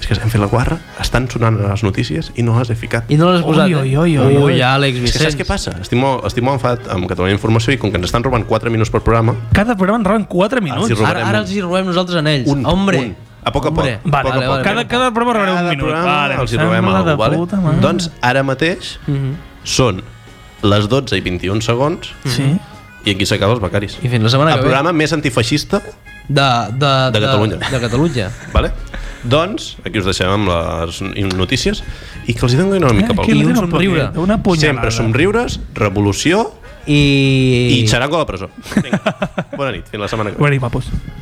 Speaker 2: és que hem fet la guarra, estan sonant les notícies i no les he ficat.
Speaker 3: I no l'has posat, Ui, eh? ui, ui, ui, Ui, ui.
Speaker 2: És
Speaker 3: Àlex
Speaker 2: que
Speaker 3: Vicenç.
Speaker 2: saps què passa? Estic molt, estic molt enfadat amb Catalunya Informació i com que ens estan robant 4 minuts per programa,
Speaker 4: Cada programa en roben 4 minuts.
Speaker 2: Els hi robarem
Speaker 3: Ara, ara els hi robem nosaltres en ells. Un, Hombre. Un.
Speaker 2: A poc a poc.
Speaker 3: Hombre.
Speaker 2: a poc, a poc.
Speaker 4: Ah, Cada, cada programa robarem un minut.
Speaker 2: programa
Speaker 4: Vale,
Speaker 2: els hi
Speaker 4: em
Speaker 2: robem
Speaker 4: sembla
Speaker 2: alguna
Speaker 4: de
Speaker 2: cosa,
Speaker 4: puta
Speaker 2: vale?
Speaker 4: mare.
Speaker 2: Doncs ara mateix
Speaker 3: Mhm.
Speaker 2: són les 12 i 21 segons
Speaker 4: Sí.
Speaker 2: i aquí s'acaba els becaris.
Speaker 3: I fins la setmana
Speaker 2: el
Speaker 3: que ve.
Speaker 2: programa més antifeixista
Speaker 3: De, de,
Speaker 2: de Catalunya.
Speaker 3: De, de Catalunya.
Speaker 2: Vale? Doncs, aquí us deixem amb les notícies i que els hi donin una mica pel
Speaker 4: Aquí
Speaker 2: cul.
Speaker 4: Eh, li dono el paquet, Una punyalada.
Speaker 2: Sempre somriures, revolució
Speaker 4: <laughs>
Speaker 3: i...
Speaker 2: i xarango a la presó. Vinga, bona nit, fins la setmana que ve.
Speaker 4: Bona nit, mapos.